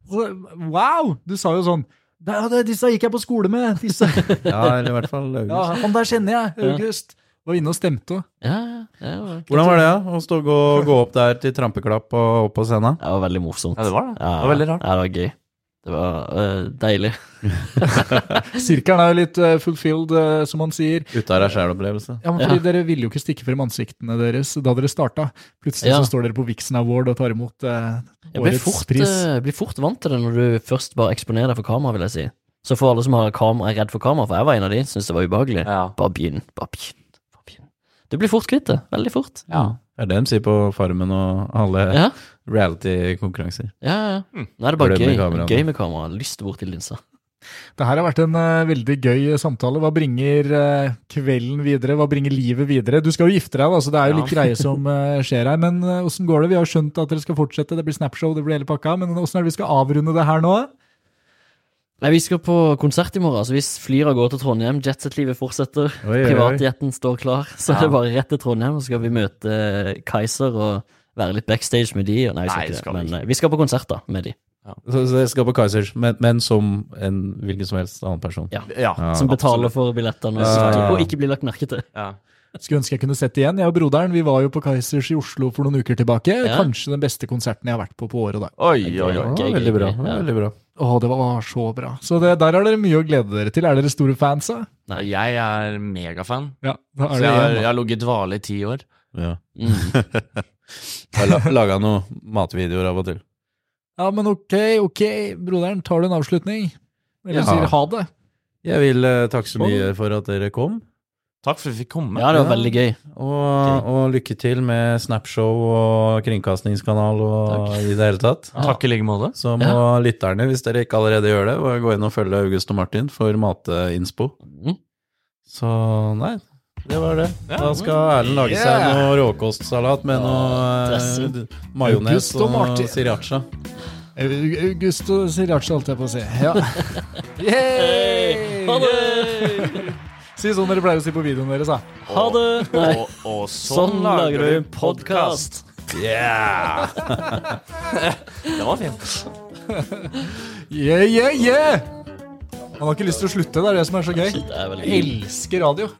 så- Wow! Du sa jo sånn det, er jo det, Disse gikk jeg på skole med! Disse.
Ja, eller i hvert fall
Ja,
August.
han der kjenner jeg! August. Var inne og stemte òg.
Ja, ja, det var-
Hvordan var det ja? å stå og gå, gå opp der til trampeklapp og opp på scenen?
det var veldig morsomt.
Ja, det var det. Det var veldig rart.
Ja, det var gøy. Det var eh, deilig.
Sirkelen er jo litt eh, fulfilled, eh, som han sier.
Ute av ei sjælopplevelse.
Ja, men fordi Dere ville jo ikke stikke frem ansiktene deres da dere starta. Plutselig
Ja.
så står dere på Vixen Award og tar imot eh,
Jeg blir
årets
fort,
pris.
eh, blir fort vant til det når du først bare eksponerer deg for kamera, vil jeg si. Så for alle som har kamera, er redd for kamera, for jeg var en av de, syntes det var ubehagelig.
Ja.
Bare begynn, bare begynn, bare begynn. Du blir fort kvitt det. Veldig fort.
ja.
Det er det de sier på Farmen og alle
Ja,
reality-konkurranser.
ja, ja.
Mm.
Nå er det bare
Glem
gøy.
med kameraet.
Gøy med kamera. Lyst bort til linsa.
Det her har vært en eh, veldig gøy samtale. Hva bringer eh, kvelden videre? Hva bringer livet videre? Du skal jo gifte deg, da, så det er jo
Ja.
litt greier som eh, skjer her. Men eh, åssen går det? Vi har jo skjønt at dere skal fortsette. Det blir Snapshow, det blir hele pakka. Men åssen er det vi skal avrunde det her nå?
Nei, vi skal på konsert i morgen, så vi flyr av gårde til Trondheim. Jetset-livet fortsetter.
Oi, oi, oi.
Privatjetten står klar, så
Ja.
det er bare rett til Trondheim, så skal vi møte eh, Kaiser og være litt backstage med de. og Nei, vi
Nei,
skal
det
ikke
skal
det,
vi
men
ikke.
eh, vi skal på konsert da, med de.
Så, så jeg skal på Kaizers, men, men som en hvilken som helst annen person.
Ja.
ja.
Som betaler
absolutt.
for billettene og,
Ja, ja, ja.
og ikke blir lagt merke til.
Ja.
Skulle ønske jeg kunne sett det igjen. Jeg og broderen vi var jo på Kaizers i Oslo for noen uker tilbake.
Ja.
Kanskje den beste konserten jeg har vært på på året. da.
Oi, oi,
Ja,
oi.
Gøy, gøy,
veldig bra.
gøy, ja.
Veldig bra.
Å, det var så bra. Så det, der har dere mye å glede dere til. Er dere store fans, da?
Nei.
Jeg er megafan.
Ja, da
Så
er det
jeg har,
igjen,
jeg har ligget i dvale i ti år.
Ja.
Mm.
Jeg la- laga noen matvideoer av og til.
da. Ja, men ok, ok, broderen. Tar du en avslutning? Eller
Ja.
sier ha det?
Jeg vil eh, takke så mye for at dere kom,
Takk for at vi fikk komme.
Ja, det var veldig gøy.
og, og lykke til med Snapshow og kringkastingskanal og i det hele tatt.
Takk i like måte.
Så må lytterne, hvis dere ikke allerede gjør det, gå inn og følge August og Martin for matinspo.
Mm.
Så nei, det var det. Da skal Erlend lage seg
Yeah.
noe råkostsalat med noe
dressing.
eh, majones
August og
og,
Martin.
sriracha.
August og Siracha, holdt jeg på å si. Ja. Yay!
Ha det!
Si sånn dere pleier å si på videoen deres, da.
Ha det! Nei.
Og, og sånn,
Sånn lager du podkast.
Yeah!
Det var fint.
Yeah, yeah, yeah! Han har ikke lyst til å slutte, det er det som er så gøy.
Det er veldig
Jeg elsker radio.